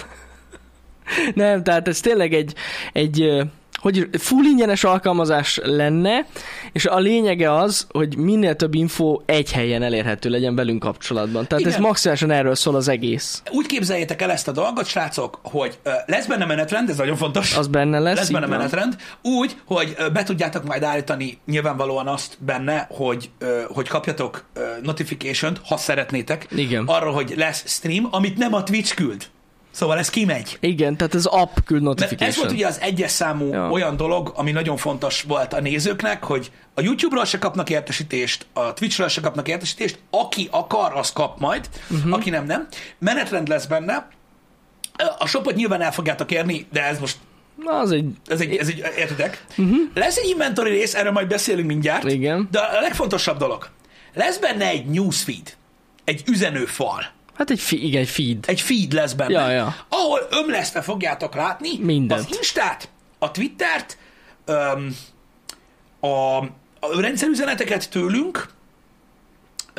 Speaker 2: Nem, tehát ez tényleg egy, egy ö, hogy full ingyenes alkalmazás lenne, és a lényege az, hogy minél több info egy helyen elérhető legyen velünk kapcsolatban. Tehát
Speaker 1: Igen.
Speaker 2: ez maximálisan erről szól az egész.
Speaker 1: Úgy képzeljétek el ezt a dolgot, srácok, hogy ö, lesz benne menetrend, ez nagyon fontos.
Speaker 2: Az benne lesz.
Speaker 1: lesz benne
Speaker 2: így van.
Speaker 1: menetrend. Úgy, hogy ö, be tudjátok majd állítani nyilvánvalóan azt benne, hogy, ö, hogy kapjatok ö, notification-t, ha szeretnétek,
Speaker 2: Igen.
Speaker 1: arról, hogy lesz stream, amit nem a Twitch küld. Szóval ez kimegy.
Speaker 2: Igen, tehát ez app küld
Speaker 1: Mert
Speaker 2: notification.
Speaker 1: ez volt ugye az egyes számú
Speaker 2: Ja.
Speaker 1: ja. olyan dolog, ami nagyon fontos volt a nézőknek, hogy a YouTube-ról se kapnak értesítést, a Twitch-ről se kapnak értesítést, aki akar, az kap majd,
Speaker 2: Mhm.
Speaker 1: uh-huh. aki nem, nem. Menetrend lesz benne, a shopot nyilván el fogjátok érni, de ez most,
Speaker 2: Na, az egy...
Speaker 1: ez egy, ez egy értitek? Uh-huh. Lesz egy inventory rész, erről majd beszélünk mindjárt,
Speaker 2: Mhm. Igen.
Speaker 1: de a legfontosabb dolog, lesz benne egy newsfeed, egy üzenőfal,
Speaker 2: Hát egy, fi, igen, egy feed.
Speaker 1: egy feed lesz benne,
Speaker 2: Ja, ja.
Speaker 1: ahol ömlesztve fogjátok látni
Speaker 2: Mindent.
Speaker 1: az Instát, a Twittert, öm, a, a rendszerüzeneteket tőlünk,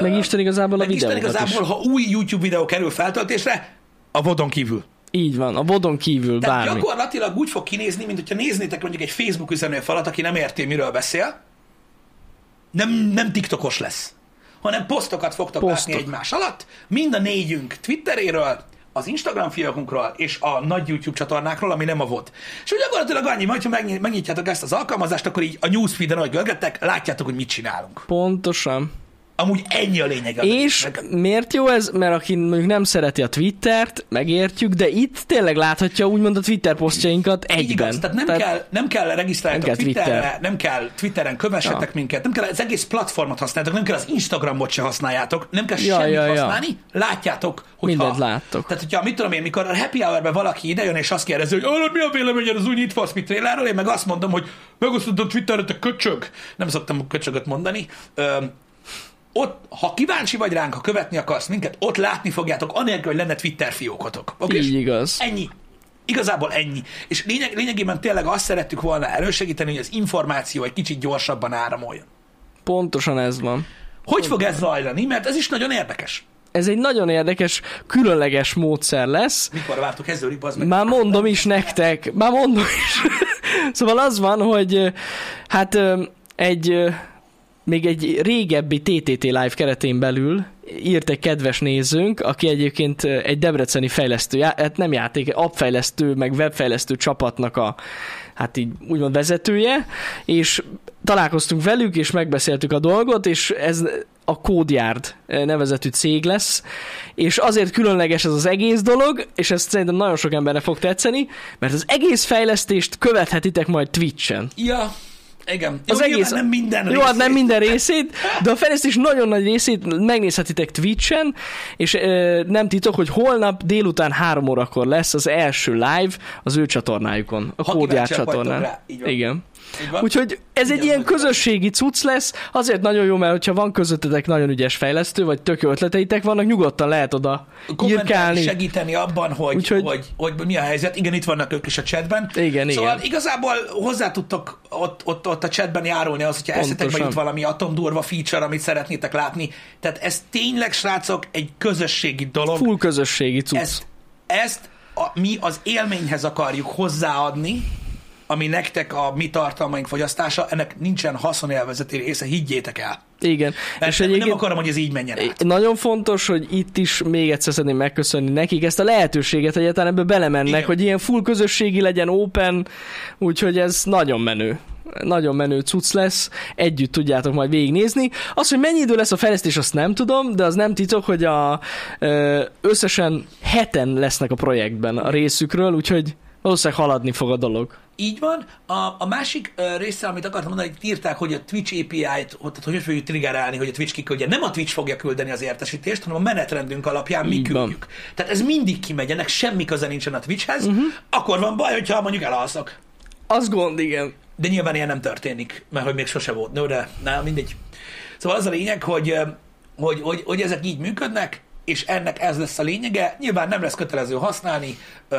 Speaker 2: Meg Isten igazából a
Speaker 1: meg Isten
Speaker 2: videókat
Speaker 1: igazából,
Speaker 2: is.
Speaker 1: ha új YouTube videó kerül feltöltésre, a vodon kívül.
Speaker 2: Így van, a vodon kívül
Speaker 1: Tehát
Speaker 2: bármi.
Speaker 1: gyakorlatilag úgy fog kinézni, mint hogyha néznétek mondjuk egy Facebook üzenőfalat, aki nem érti, miről beszél, nem, nem TikTokos lesz, hanem posztokat fogtok
Speaker 2: Posztok.
Speaker 1: látni egymás alatt, mind a négyünk Twitteréről, az Instagram fiókunkról és a nagy YouTube csatornákról, ami nem a volt. És úgy gyakorlatilag annyi, majd, ha megny- megnyitjátok ezt az alkalmazást, akkor így a newsfeed-en, ahogy görgettek, látjátok, hogy mit csinálunk.
Speaker 2: Pontosan.
Speaker 1: Amúgy ennyi a lényeg. az
Speaker 2: És
Speaker 1: egésznek.
Speaker 2: miért jó ez? Mert aki mondjuk nem szereti a Twittert, megértjük, de itt tényleg láthatja úgymond a Twitter posztjainkat egyben.
Speaker 1: Így igaz, tehát nem, tehát kell, nem kell regisztráljatok
Speaker 2: nem
Speaker 1: nem
Speaker 2: kell
Speaker 1: kell Twitterre,
Speaker 2: Twitter.
Speaker 1: nem kell Twitteren kövessetek
Speaker 2: Ja.
Speaker 1: minket, nem kell az egész platformot használjátok, nem kell az Instagramot se használjátok, nem kell
Speaker 2: Ja,
Speaker 1: semmit
Speaker 2: ja, ja.
Speaker 1: használni, látjátok, hogy
Speaker 2: Mindent láttok.
Speaker 1: Tehát, hogyha mit tudom én, mikor a happy hour valaki idejön és azt kérdezi, hogy arra mi a véleményed az új Need for Speed trailerről, én meg azt mondom, hogy megosztod a Twitterre, te köcsög. Nem szoktam a köcsögöt mondani. Öm, ott, ha kíváncsi vagy ránk, ha követni akarsz minket, ott látni fogjátok, anélkül, hogy lenne Twitter fiókotok. Okay?
Speaker 2: Így igaz.
Speaker 1: Ennyi. Igazából ennyi. És lényeg, lényegében tényleg azt szerettük volna elősegíteni, hogy az információ egy kicsit gyorsabban áramoljon.
Speaker 2: Pontosan ez van.
Speaker 1: Hogy fog ez zajlani? Mert ez is nagyon érdekes.
Speaker 2: Ez egy nagyon érdekes, különleges módszer lesz.
Speaker 1: Mikor vártuk kezdődik, az meg.
Speaker 2: Már mondom is nektek, már mondom is. szóval az van, hogy ö, hát ö, egy ö, még egy régebbi TTT Live keretén belül írt egy kedves nézőnk, aki egyébként ö, egy debreceni fejlesztő, já- hát nem játék, appfejlesztő, meg webfejlesztő csapatnak a, hát így úgymond vezetője, és találkoztunk velük, és megbeszéltük a dolgot, és ez a Kódjárd nevezetű cég lesz, és azért különleges ez az egész dolog, és ezt szerintem nagyon sok embernek fog tetszeni, mert az egész fejlesztést követhetitek majd Twitch-en.
Speaker 1: Ja, igen. Jó,
Speaker 2: Az
Speaker 1: nyilván
Speaker 2: egész-
Speaker 1: nem minden
Speaker 2: Jó, hát nem
Speaker 1: részét.
Speaker 2: minden részét, de a fejlesztés nagyon nagy részét megnézhetitek Twitch-en, és ö, nem titok, hogy holnap délután három órakor lesz az első live az ő csatornájukon, a
Speaker 1: Ha
Speaker 2: Kódjár
Speaker 1: kíváncsiak vagytok
Speaker 2: csatornán.
Speaker 1: rá, így van.
Speaker 2: Igen.
Speaker 1: Így van.
Speaker 2: Úgyhogy ez egy
Speaker 1: Igen,
Speaker 2: ilyen
Speaker 1: úgy van.
Speaker 2: közösségi cucc lesz, azért nagyon jó, mert hogyha van közöttetek nagyon ügyes fejlesztő, vagy tök jó ötleteitek vannak, nyugodtan lehet oda
Speaker 1: kommentelni,
Speaker 2: írkálni.
Speaker 1: segíteni abban, hogy,
Speaker 2: Úgyhogy-
Speaker 1: Úgyhogy... hogy, hogy mi a helyzet. Igen, itt vannak ők is a chatben.
Speaker 2: Igen,
Speaker 1: szóval
Speaker 2: igen.
Speaker 1: igazából hozzá tudtok ott, ott, ott a chatben járulni az, hogyha
Speaker 2: Pontosan.
Speaker 1: eszetekbe jut valami atomdurva feature, amit szeretnétek látni. Tehát ez tényleg, srácok, egy közösségi dolog.
Speaker 2: Full közösségi cucc.
Speaker 1: Ezt, ezt a, mi az élményhez akarjuk hozzáadni, ami nektek a mi tartalmaink fogyasztása, ennek nincsen haszonélvezeti része, higgyétek el.
Speaker 2: Igen.
Speaker 1: Mert és nem akarom, hogy ez így menjen át.
Speaker 2: Nagyon fontos, hogy itt is még egyszer szeretném megköszönni nekik ezt a lehetőséget, hogy egyáltalán ebbe belemennek, Igen.
Speaker 1: Igen.
Speaker 2: hogy ilyen full közösségi legyen, open, úgyhogy ez nagyon menő. Nagyon menő cucc lesz, együtt tudjátok majd végignézni. Az, hogy mennyi idő lesz a fejlesztés, azt nem tudom, de az nem titok, hogy a, ö, összesen heten lesznek a projektben a részükről, úgyhogy valószínűleg haladni fog a dolog.
Speaker 1: Így van. A, a másik ö, része, amit akartam mondani, hogy írták, hogy a Twitch API-t, hogy- tehát hogy hogy fogjuk triggerálni, hogy a Twitch kiküldje. Nem a Twitch fogja küldeni az értesítést, hanem a menetrendünk alapján mi
Speaker 2: Így van.
Speaker 1: küldjük. Tehát ez mindig kimegy, ennek semmi köze nincsen a Twitchhez.
Speaker 2: Mhm.
Speaker 1: Uh-huh. Akkor van baj, hogyha mondjuk elalszok.
Speaker 2: Az gond, igen.
Speaker 1: De nyilván ilyen nem történik, mert hogy még sose volt. No, de na, mindegy. Szóval az a lényeg, hogy, ö, hogy, hogy, hogy ezek így működnek, és ennek ez lesz a lényege. Nyilván nem lesz kötelező használni, ö,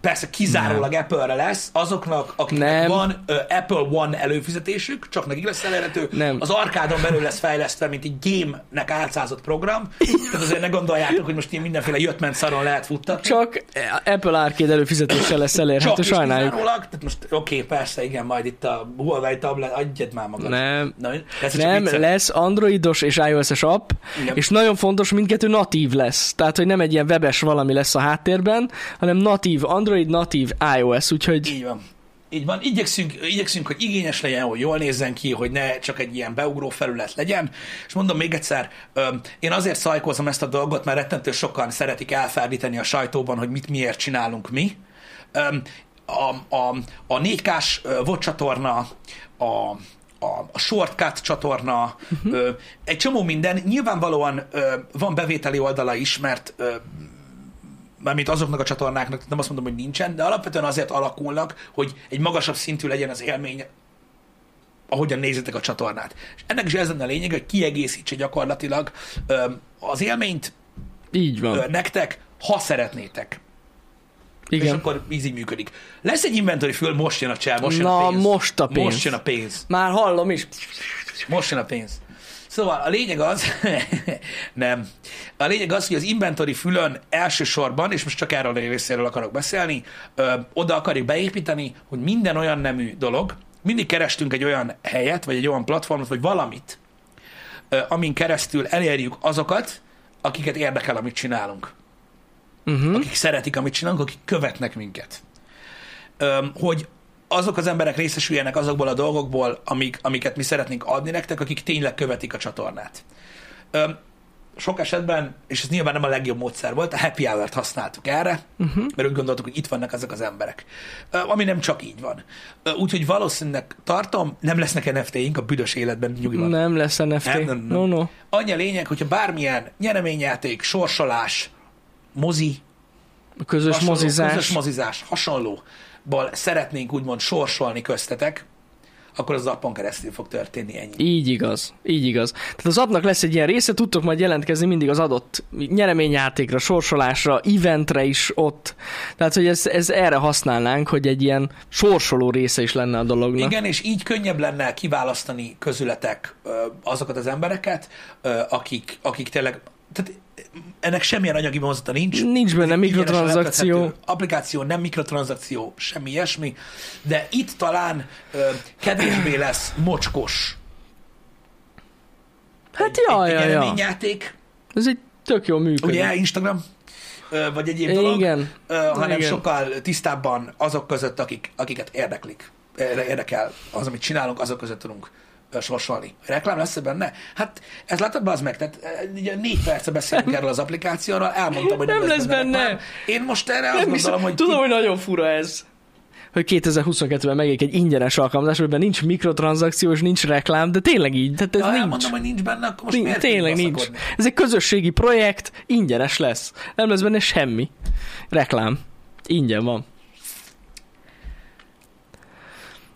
Speaker 1: persze kizárólag nem. Apple-re lesz, azoknak, akiknek
Speaker 2: Nem.
Speaker 1: van ö, Apple One előfizetésük, csak nekik lesz elérhető,
Speaker 2: Nem.
Speaker 1: az arkádon belül lesz fejlesztve, mint egy game-nek átszázott program, tehát azért ne gondoljátok, hogy most ilyen mindenféle jöttment szaron lehet futtatni.
Speaker 2: Csak Apple Arcade előfizetéssel lesz elérhető,
Speaker 1: és
Speaker 2: hát sajnáljuk.
Speaker 1: kizárólag, tehát most oké, okay, persze, igen, majd itt a Huawei tablet, adjad már magad.
Speaker 2: Nem.
Speaker 1: Na, ez csak
Speaker 2: Nem,
Speaker 1: viccelek.
Speaker 2: lesz androidos és iOS-es app,
Speaker 1: Igen.
Speaker 2: és nagyon fontos, mindkettő natív lesz. Tehát, hogy nem egy ilyen webes valami lesz a háttérben, hanem natív Android, natív iOS, úgyhogy
Speaker 1: Így van. Így van. Igyekszünk, igyekszünk, hogy igényes legyen, hogy jól nézzen ki, hogy ne csak egy ilyen beugró felület legyen. És mondom még egyszer, öm, én azért szajkozom ezt a dolgot, mert rettentő sokan szeretik elferdíteni a sajtóban, hogy mit miért csinálunk mi. Öm, A, a, a 4K-s ö, VOD csatorna, a, a, a Shortcut csatorna, uh-huh. ö, egy csomó minden. Nyilvánvalóan ö, van bevételi oldala is, mert ö, mármint azoknak a csatornáknak, nem azt mondom, hogy nincsen, de alapvetően azért alakulnak, hogy egy magasabb szintű legyen az élmény, ahogyan nézitek a csatornát. És ennek is ez lenne a lényeg, hogy kiegészítse gyakorlatilag ö, az élményt
Speaker 2: így van.
Speaker 1: ö, nektek, ha szeretnétek. Igen. És
Speaker 2: Igen.
Speaker 1: akkor így így működik. Lesz egy inventory föl, most jön a csel, most jön a
Speaker 2: Na,
Speaker 1: pénz.
Speaker 2: most a pénz.
Speaker 1: Most jön a pénz.
Speaker 2: Már hallom is.
Speaker 1: Most jön a pénz. Szóval a lényeg az, nem, a lényeg az, hogy az inventory fülön elsősorban, és most csak erről a részéről akarok beszélni, ö, oda akarjuk beépíteni, hogy minden olyan nemű dolog, mindig kerestünk egy olyan helyet, vagy egy olyan platformot, vagy valamit, ö, amin keresztül elérjük azokat, akiket érdekel, amit csinálunk
Speaker 2: Uh-huh.
Speaker 1: akik szeretik, amit csinálunk, akik követnek minket. Öm, hogy azok az emberek részesüljenek azokból a dolgokból, amik, amiket mi szeretnénk adni nektek, akik tényleg követik a csatornát. Öm, sok esetben, és ez nyilván nem a legjobb módszer volt, a happy hour-t használtuk erre, uh-huh. mert úgy gondoltuk, hogy itt vannak ezek az emberek. Ö, Ami nem csak így van. Ö, Úgyhogy valószínűleg tartom, nem lesznek NFT-ink a büdös életben, nyugodtan.
Speaker 2: Nem lesz NFT.
Speaker 1: Nem, nem, nem.
Speaker 2: No, no.
Speaker 1: Annyi a lényeg, hogyha bármilyen nyereményjáték, sorsolás, mozi,
Speaker 2: A közös
Speaker 1: hasonló-
Speaker 2: mozizás.
Speaker 1: Közös mozizás, hasonlóból szeretnénk úgymond sorsolni köztetek, akkor az appon keresztül fog történni ennyi.
Speaker 2: Így igaz, így igaz. Tehát az appnak lesz egy ilyen része, tudtok majd jelentkezni mindig az adott nyereményjátékra, sorsolásra, eventre is ott. Tehát, hogy ez, ez erre használnánk, hogy egy ilyen sorsoló része is lenne a dolognak.
Speaker 1: Igen, és így könnyebb lenne kiválasztani közületek ö, azokat az embereket, ö, akik, akik tényleg, tehát ennek semmilyen anyagi vonzata nincs.
Speaker 2: Nincs benne
Speaker 1: Ingyenes
Speaker 2: mikrotranszakció.
Speaker 1: letölthető applikáció, nem mikrotranszakció, semmi ilyesmi, de itt talán ö, kevésbé lesz mocskos
Speaker 2: Hát jaj,
Speaker 1: egy
Speaker 2: jaj, jaj.
Speaker 1: nyereményjáték,
Speaker 2: Ez egy tök jó működik.
Speaker 1: ugye Instagram, ö, vagy egyéb dolog.
Speaker 2: Igen.
Speaker 1: Ö, hanem
Speaker 2: Igen.
Speaker 1: sokkal tisztábban azok között, akik, akiket érdeklik, Érde- érdekel az, amit csinálunk, azok között tudunk ö, sorsolni. Reklám lesz benne? Hát ez látod, az meg, tehát ö, ugye négy perce beszélünk erről az applikációról, elmondtam, hogy nem,
Speaker 2: Nem lesz benne.
Speaker 1: reklám. Én most erre azt
Speaker 2: Nem
Speaker 1: gondolom,
Speaker 2: hiszem,
Speaker 1: hogy
Speaker 2: hogy tudom, hogy nagyon fura ez. Hogy 2022-ben megék egy ingyenes alkalmazás, amiben nincs mikrotranszakció és nincs reklám, de tényleg így, tehát ez
Speaker 1: ha
Speaker 2: nincs.
Speaker 1: elmondom, hogy nincs benne, akkor most
Speaker 2: Nincs,
Speaker 1: miért
Speaker 2: tényleg
Speaker 1: tudunk
Speaker 2: nincs.
Speaker 1: baszakodni?
Speaker 2: Ez egy közösségi projekt, ingyenes lesz. Nem lesz benne semmi. Reklám. Ingyen van.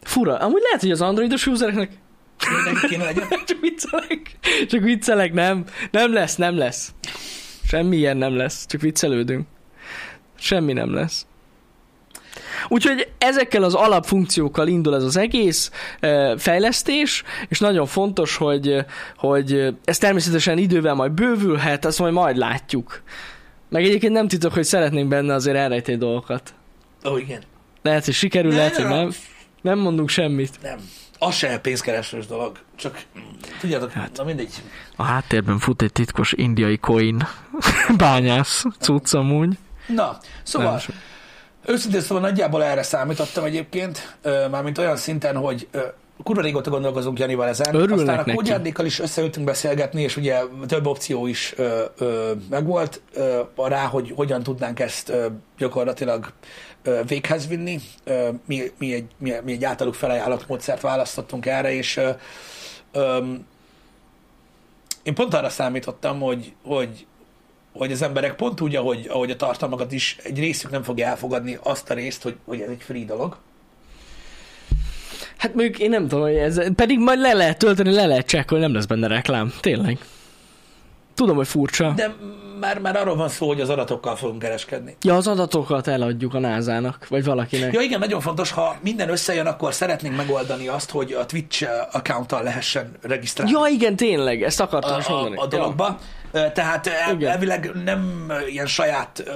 Speaker 2: Fura. Amúgy lehet, hogy az androidos usereknek
Speaker 1: Mindenki kéne legyen.
Speaker 2: csak viccelek. Csak viccelek, nem. Nem lesz, nem lesz. Semmilyen nem lesz. Csak viccelődünk. Semmi nem lesz. Úgyhogy ezekkel az alapfunkciókkal indul ez az egész ö, fejlesztés, és nagyon fontos, hogy, hogy ez természetesen idővel majd bővülhet, azt majd majd látjuk. Meg egyébként nem titok, hogy szeretnénk benne azért elrejteni dolgokat.
Speaker 1: Ó, igen.
Speaker 2: Lehet, hogy sikerül,
Speaker 1: Ne,
Speaker 2: lehet, hogy
Speaker 1: ne,
Speaker 2: nem. Nem mondunk semmit.
Speaker 1: Nem. Az se pénzkeresős dolog, csak mm, tudjátok, hát. na mindegy.
Speaker 2: A háttérben fut egy titkos indiai coin bányász cucc amúgy.
Speaker 1: Na, szóval, Őszintén szóval nagyjából erre számítottam egyébként, ö, mármint olyan szinten, hogy ö, kurva régóta gondolkozunk Janival ezen.
Speaker 2: Örülnek
Speaker 1: Aztán a
Speaker 2: neki.
Speaker 1: Kógyárnékkal is összeültünk beszélgetni, és ugye több opció is ö, ö, megvolt ö, rá, hogy hogyan tudnánk ezt ö, gyakorlatilag ö, véghez vinni. Ö, mi, mi, egy, mi, mi egy általuk felajánlott módszert választottunk erre, és ö, öm, én pont arra számítottam, hogy, hogy, hogy az emberek pont úgy, ahogy, ahogy a tartalmakat is, egy részük nem fogja elfogadni azt a részt, hogy, hogy ez egy free dolog.
Speaker 2: Hát mondjuk én nem tudom, hogy ez, pedig majd le lehet tölteni, le lehet csekkolni, nem lesz benne reklám. Tényleg. Tudom, hogy furcsa.
Speaker 1: De már, már arról van szó, hogy az adatokkal fogunk kereskedni.
Speaker 2: Ja, az adatokat eladjuk a názának, vagy valakinek.
Speaker 1: Ja igen, nagyon fontos, ha minden összejön, akkor szeretnénk megoldani azt, hogy a Twitch accounttal lehessen regisztrálni
Speaker 2: Ja, igen, tényleg, ezt
Speaker 1: a,
Speaker 2: akartam is
Speaker 1: a,
Speaker 2: mondani.
Speaker 1: a dologba. Ö, Tehát el-
Speaker 2: Igen.
Speaker 1: elvileg nem ö, ilyen saját ö,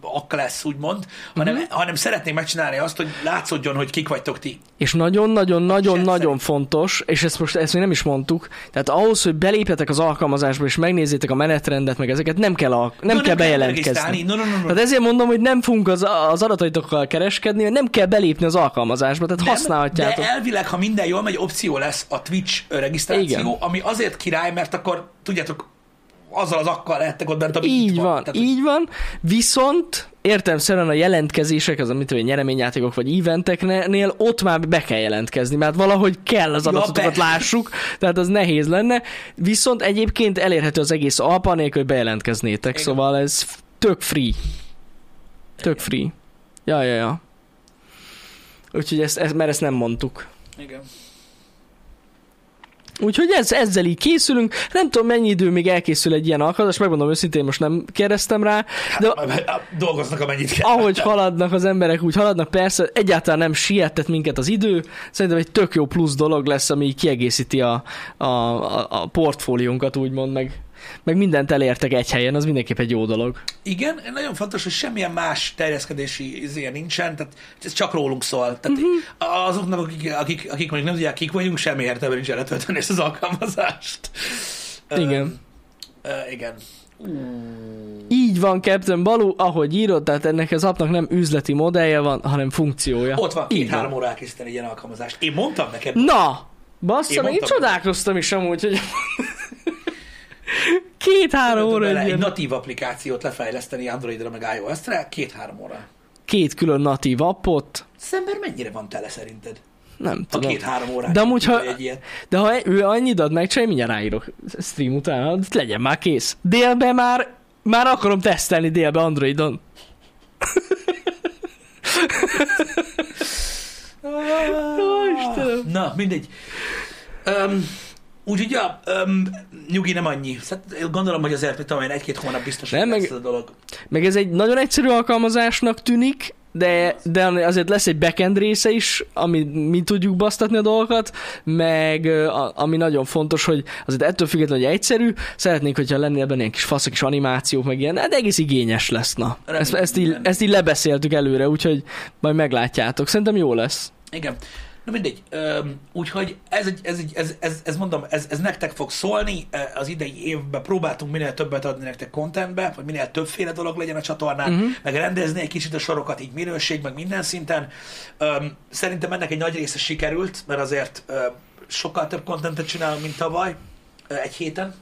Speaker 1: ak lesz, úgymond, hanem,
Speaker 2: Mhm.
Speaker 1: uh-huh. hanem szeretnénk megcsinálni azt, hogy látszódjon, hogy kik vagytok ti.
Speaker 2: És nagyon-nagyon-nagyon-nagyon
Speaker 1: Szerint-
Speaker 2: fontos, és ezt most ezt még nem is mondtuk, tehát ahhoz, hogy belépjetek az alkalmazásba, és megnézzétek a menetrendet, meg ezeket, nem kell, a, nem
Speaker 1: No,
Speaker 2: kell bejelentkezni.
Speaker 1: regisztrálni. No, no, no, no.
Speaker 2: Tehát ezért mondom, hogy nem fogunk az, az adataitokkal kereskedni, mert nem kell belépni az alkalmazásba, tehát
Speaker 1: Nem,
Speaker 2: használhatjátok.
Speaker 1: De elvileg, ha minden jól megy, opció lesz a Twitch regisztráció,
Speaker 2: Igen.
Speaker 1: Igen. ami azért király, mert akkor tudjátok, azzal az akkal lehettek ott bent, ami itt
Speaker 2: Így van,
Speaker 1: Tehát,
Speaker 2: így van, viszont értelmszerűen a jelentkezések, az amit tudom, én, nyereményjátékok vagy eventeknél, ott már be kell jelentkezni, mert valahogy kell az
Speaker 1: Ja,
Speaker 2: adatokat
Speaker 1: persze.
Speaker 2: lássuk, tehát az nehéz lenne, viszont egyébként elérhető az egész alpa nélkül, hogy bejelentkeznétek,
Speaker 1: Igen.
Speaker 2: szóval ez f- tök free. Tök free. Ja, ja, ja. Úgyhogy ezt, ezt, mert ezt nem mondtuk.
Speaker 1: Igen.
Speaker 2: Úgyhogy ez, ezzel így készülünk. Nem tudom, mennyi idő még elkészül egy ilyen alkalmazás, megmondom őszintén, most nem kérdeztem rá,
Speaker 1: Hát,
Speaker 2: de
Speaker 1: Dolgoznak, amennyit kell.
Speaker 2: ahogy haladnak az emberek, úgy haladnak, persze egyáltalán nem sietett minket az idő, szerintem egy tök jó plusz dolog lesz, ami így kiegészíti a, a, a, a portfóliónkat, úgymond, meg, meg mindent elértek egy helyen, az mindenképp egy jó dolog.
Speaker 1: Igen, nagyon fontos, hogy semmilyen más terjeszkedési izéje nincsen, tehát ez csak rólunk szól.
Speaker 2: Mhm.
Speaker 1: Tehát uh-huh. azoknak, akik, akik, akik mondjuk nem tudják, kik vagyunk, semmi értelme nincs letölteni ezt az alkalmazást.
Speaker 2: Igen.
Speaker 1: Ö, ö, igen.
Speaker 2: Így van Captain Balú, ahogy írod, tehát ennek az appnak nem üzleti modellje van, hanem funkciója.
Speaker 1: Ott van
Speaker 2: Így
Speaker 1: két-három óra elkészíteni egy ilyen alkalmazást. Én mondtam neked,
Speaker 2: Na! Bassza,
Speaker 1: Én
Speaker 2: én, én
Speaker 1: mondtam.
Speaker 2: csodálkoztam is amúgy, hogy... Két-három óra
Speaker 1: bele
Speaker 2: egy
Speaker 1: egy
Speaker 2: ilyen...
Speaker 1: natív applikációt lefejleszteni Androidra meg iOS-re, két-három óra.
Speaker 2: Két külön natív appot.
Speaker 1: Az ember mennyire van tele szerinted?
Speaker 2: Nem
Speaker 1: A
Speaker 2: tudom.
Speaker 1: két-három órán.
Speaker 2: De amúgy, ha,
Speaker 1: kívül Egy ilyet.
Speaker 2: de ha ő annyit ad megcsinálja, mindjárt ráírok stream után, hát legyen már kész. Délben már, már akarom tesztelni délben Androidon. Ó, Istenem.
Speaker 1: Na, mindegy. Um, Úgyhogy, ja, um, nyugi nem annyi. Szóval én gondolom, hogy azért, mit tudom én, egy-két hónap biztos, hogy
Speaker 2: Nem,
Speaker 1: lesz
Speaker 2: meg-
Speaker 1: ez a dolog.
Speaker 2: Meg ez egy nagyon egyszerű alkalmazásnak tűnik, de, de azért lesz egy backend része is, ami mi tudjuk basztatni a dolgokat, meg ö, a, ami nagyon fontos, hogy azért ettől függetlenül, hogy egyszerű, szeretnénk, hogyha lennél benne ilyen kis faszok kis animációk, meg ilyen, hát egész igényes lesz, na.
Speaker 1: Remélem,
Speaker 2: Ezt, ezt, így,
Speaker 1: igen.
Speaker 2: ezt így lebeszéltük előre, úgyhogy majd meglátjátok. Szerintem jó lesz.
Speaker 1: Igen. Na mindegy. Öm, Úgyhogy ez, egy, ez, egy, ez, ez, ez mondom, ez, ez nektek fog szólni. Eh, Az idei évben próbáltunk minél többet adni nektek contentbe, hogy minél többféle dolog legyen a csatornán, uh-huh. meg rendezni egy kicsit a sorokat, így minőség, meg minden szinten. Öm, Szerintem ennek egy nagy része sikerült, mert azért ö, sokkal több contentet csinálunk, mint tavaly, ö, egy héten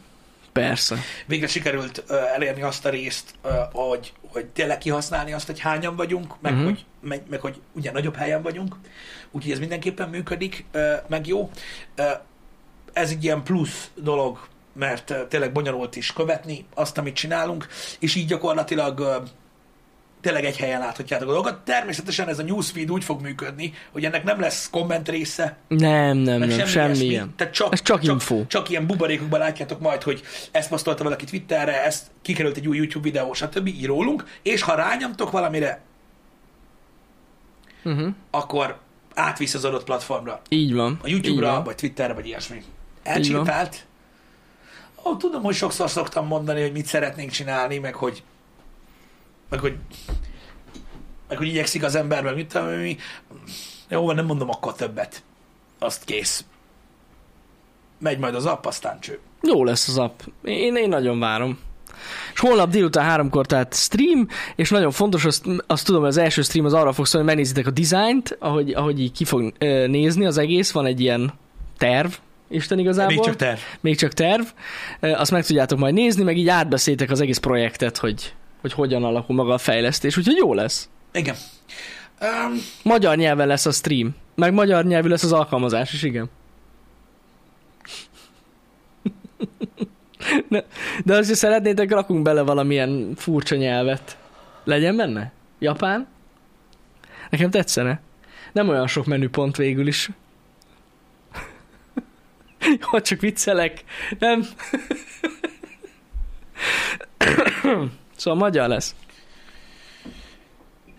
Speaker 2: Persze.
Speaker 1: végre sikerült ö, elérni azt a részt, ö, hogy, hogy tényleg kihasználni azt, hogy hányan vagyunk, meg,
Speaker 2: Mhm.
Speaker 1: uh-huh. hogy, meg, meg hogy ugye nagyobb helyen vagyunk. Úgyhogy ez mindenképpen működik, ö, meg jó. Ö, ez egy ilyen plusz dolog, mert ö, tényleg bonyolult is követni azt, amit csinálunk, és így gyakorlatilag ö, tényleg egy helyen láthatjátok a dolgot. Természetesen ez a newsfeed úgy fog működni, hogy ennek nem lesz komment része,
Speaker 2: Nem, nem,
Speaker 1: meg
Speaker 2: nem,
Speaker 1: semmi,
Speaker 2: semmi
Speaker 1: ilyesmi.
Speaker 2: ilyen.
Speaker 1: Tehát csak,
Speaker 2: Ez csak info.
Speaker 1: Csak ilyen buborékokban látjátok majd, hogy ezt posztolta valaki Twitterre, ezt kikerült egy új YouTube videó, stb. így rólunk, és ha rányomtok valamire,
Speaker 2: Uh-huh.
Speaker 1: akkor átvisz az adott platformra.
Speaker 2: Így van.
Speaker 1: A
Speaker 2: Így
Speaker 1: YouTube-ra,
Speaker 2: van.
Speaker 1: vagy Twitterre, vagy ilyesmi.
Speaker 2: Így van.
Speaker 1: Elcsépelt? Ó, tudom, hogy sokszor szoktam mondani, hogy mit szeretnénk csinálni, meg hogy meg hogy meg hogy igyekszik az ember, meg mit tudom, én mi. Jó, van, nem mondom akkor többet. Azt kész. Megy majd az app, aztán cső.
Speaker 2: Jó lesz az app. Én, én nagyon várom. És holnap délután háromkor tehát stream, és nagyon fontos, azt, azt tudom, hogy az első stream az arra fog szólni, hogy megnézitek a dizájnt, ahogy, ahogy így ki fog ö, nézni az egész, van egy ilyen terv, Isten igazából.
Speaker 1: Még csak terv.
Speaker 2: Még csak terv. Ö, Azt meg tudjátok majd nézni, meg így átbeszéltek az egész projektet, hogy, hogy hogyan alakul maga a fejlesztés, úgyhogy jó lesz.
Speaker 1: Igen. Um,
Speaker 2: Magyar nyelven lesz a stream, meg magyar nyelvű lesz az alkalmazás is, igen. Ne- De azért szeretnétek, rakunk bele valamilyen furcsa nyelvet. Legyen benne? Japán? Nekem tetszene. Nem olyan sok menüpont végül is. Jó, csak viccelek. Nem. Szóval magyar lesz.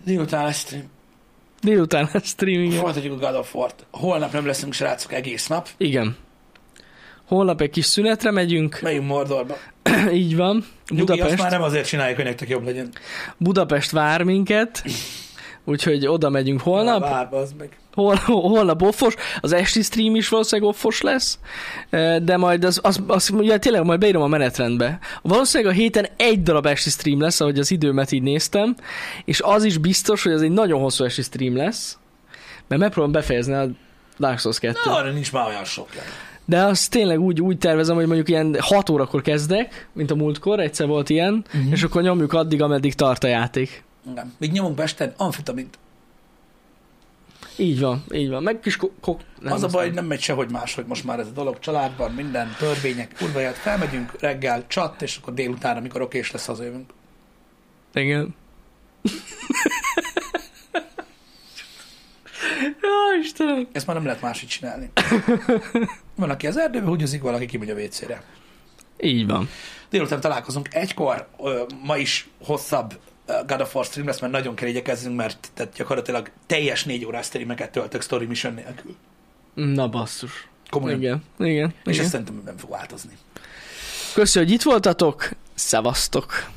Speaker 1: Délután lesz stream.
Speaker 2: Délután lesz streaming.
Speaker 1: Folytatjuk a God of War-t. Holnap nem leszünk srácok egész nap.
Speaker 2: Igen. Holnap egy kis szünetre megyünk,
Speaker 1: Megyünk Mordorba.
Speaker 2: így van.
Speaker 1: Nyugi, azt már
Speaker 2: Budapest,
Speaker 1: nem azért csináljuk, hogy nektek jobb legyen.
Speaker 2: Budapest vár minket, úgyhogy oda megyünk holnap.
Speaker 1: Várba, az meg.
Speaker 2: Hol, holnap offos, az esti stream is valószínűleg offos lesz, eh, de majd az, az, az ugye tényleg majd beírom a menetrendbe. Valószínűleg a héten egy darab esti stream lesz, ahogy az időmet így néztem, és az is biztos, hogy ez egy nagyon hosszú esti stream lesz, mert megpróbálom befejezni a Dark Souls 2
Speaker 1: Na, arra nincs már olyan sok.
Speaker 2: De azt tényleg úgy, úgy tervezem, hogy mondjuk ilyen 6 órakor kezdek, mint a múltkor, egyszer volt ilyen,
Speaker 1: Mhm.
Speaker 2: uh-huh. és akkor nyomjuk addig, ameddig tart a játék.
Speaker 1: Nem. Még nyomunk Besten amfitamint.
Speaker 2: Így van, így van. Meg kis ko- ko-
Speaker 1: Nem, az a
Speaker 2: azt
Speaker 1: baj,
Speaker 2: nem.
Speaker 1: hogy nem megy sehogy máshogy most már ez a dolog. Családban minden törvények, kurvaját felmegyünk, reggel csat, és akkor délután, amikor okés lesz, az jövünk.
Speaker 2: Igen. Ó, Istenem.
Speaker 1: Ezt már nem lehet máshogy csinálni. Van, aki az erdőbe húgyozik, valaki kimegy a WC-re.
Speaker 2: Így van.
Speaker 1: Délután találkozunk egykor, ö, ma is hosszabb ö, God of War stream lesz, mert nagyon kell igyekezzünk, mert tehát gyakorlatilag teljes négy órás streameket töltök story mission nélkül.
Speaker 2: Na basszus.
Speaker 1: Komolyan. Igen.
Speaker 2: Igen, igen.
Speaker 1: És
Speaker 2: igen.
Speaker 1: ezt szerintem nem fog változni.
Speaker 2: Köszi, hogy itt voltatok. Szevasztok.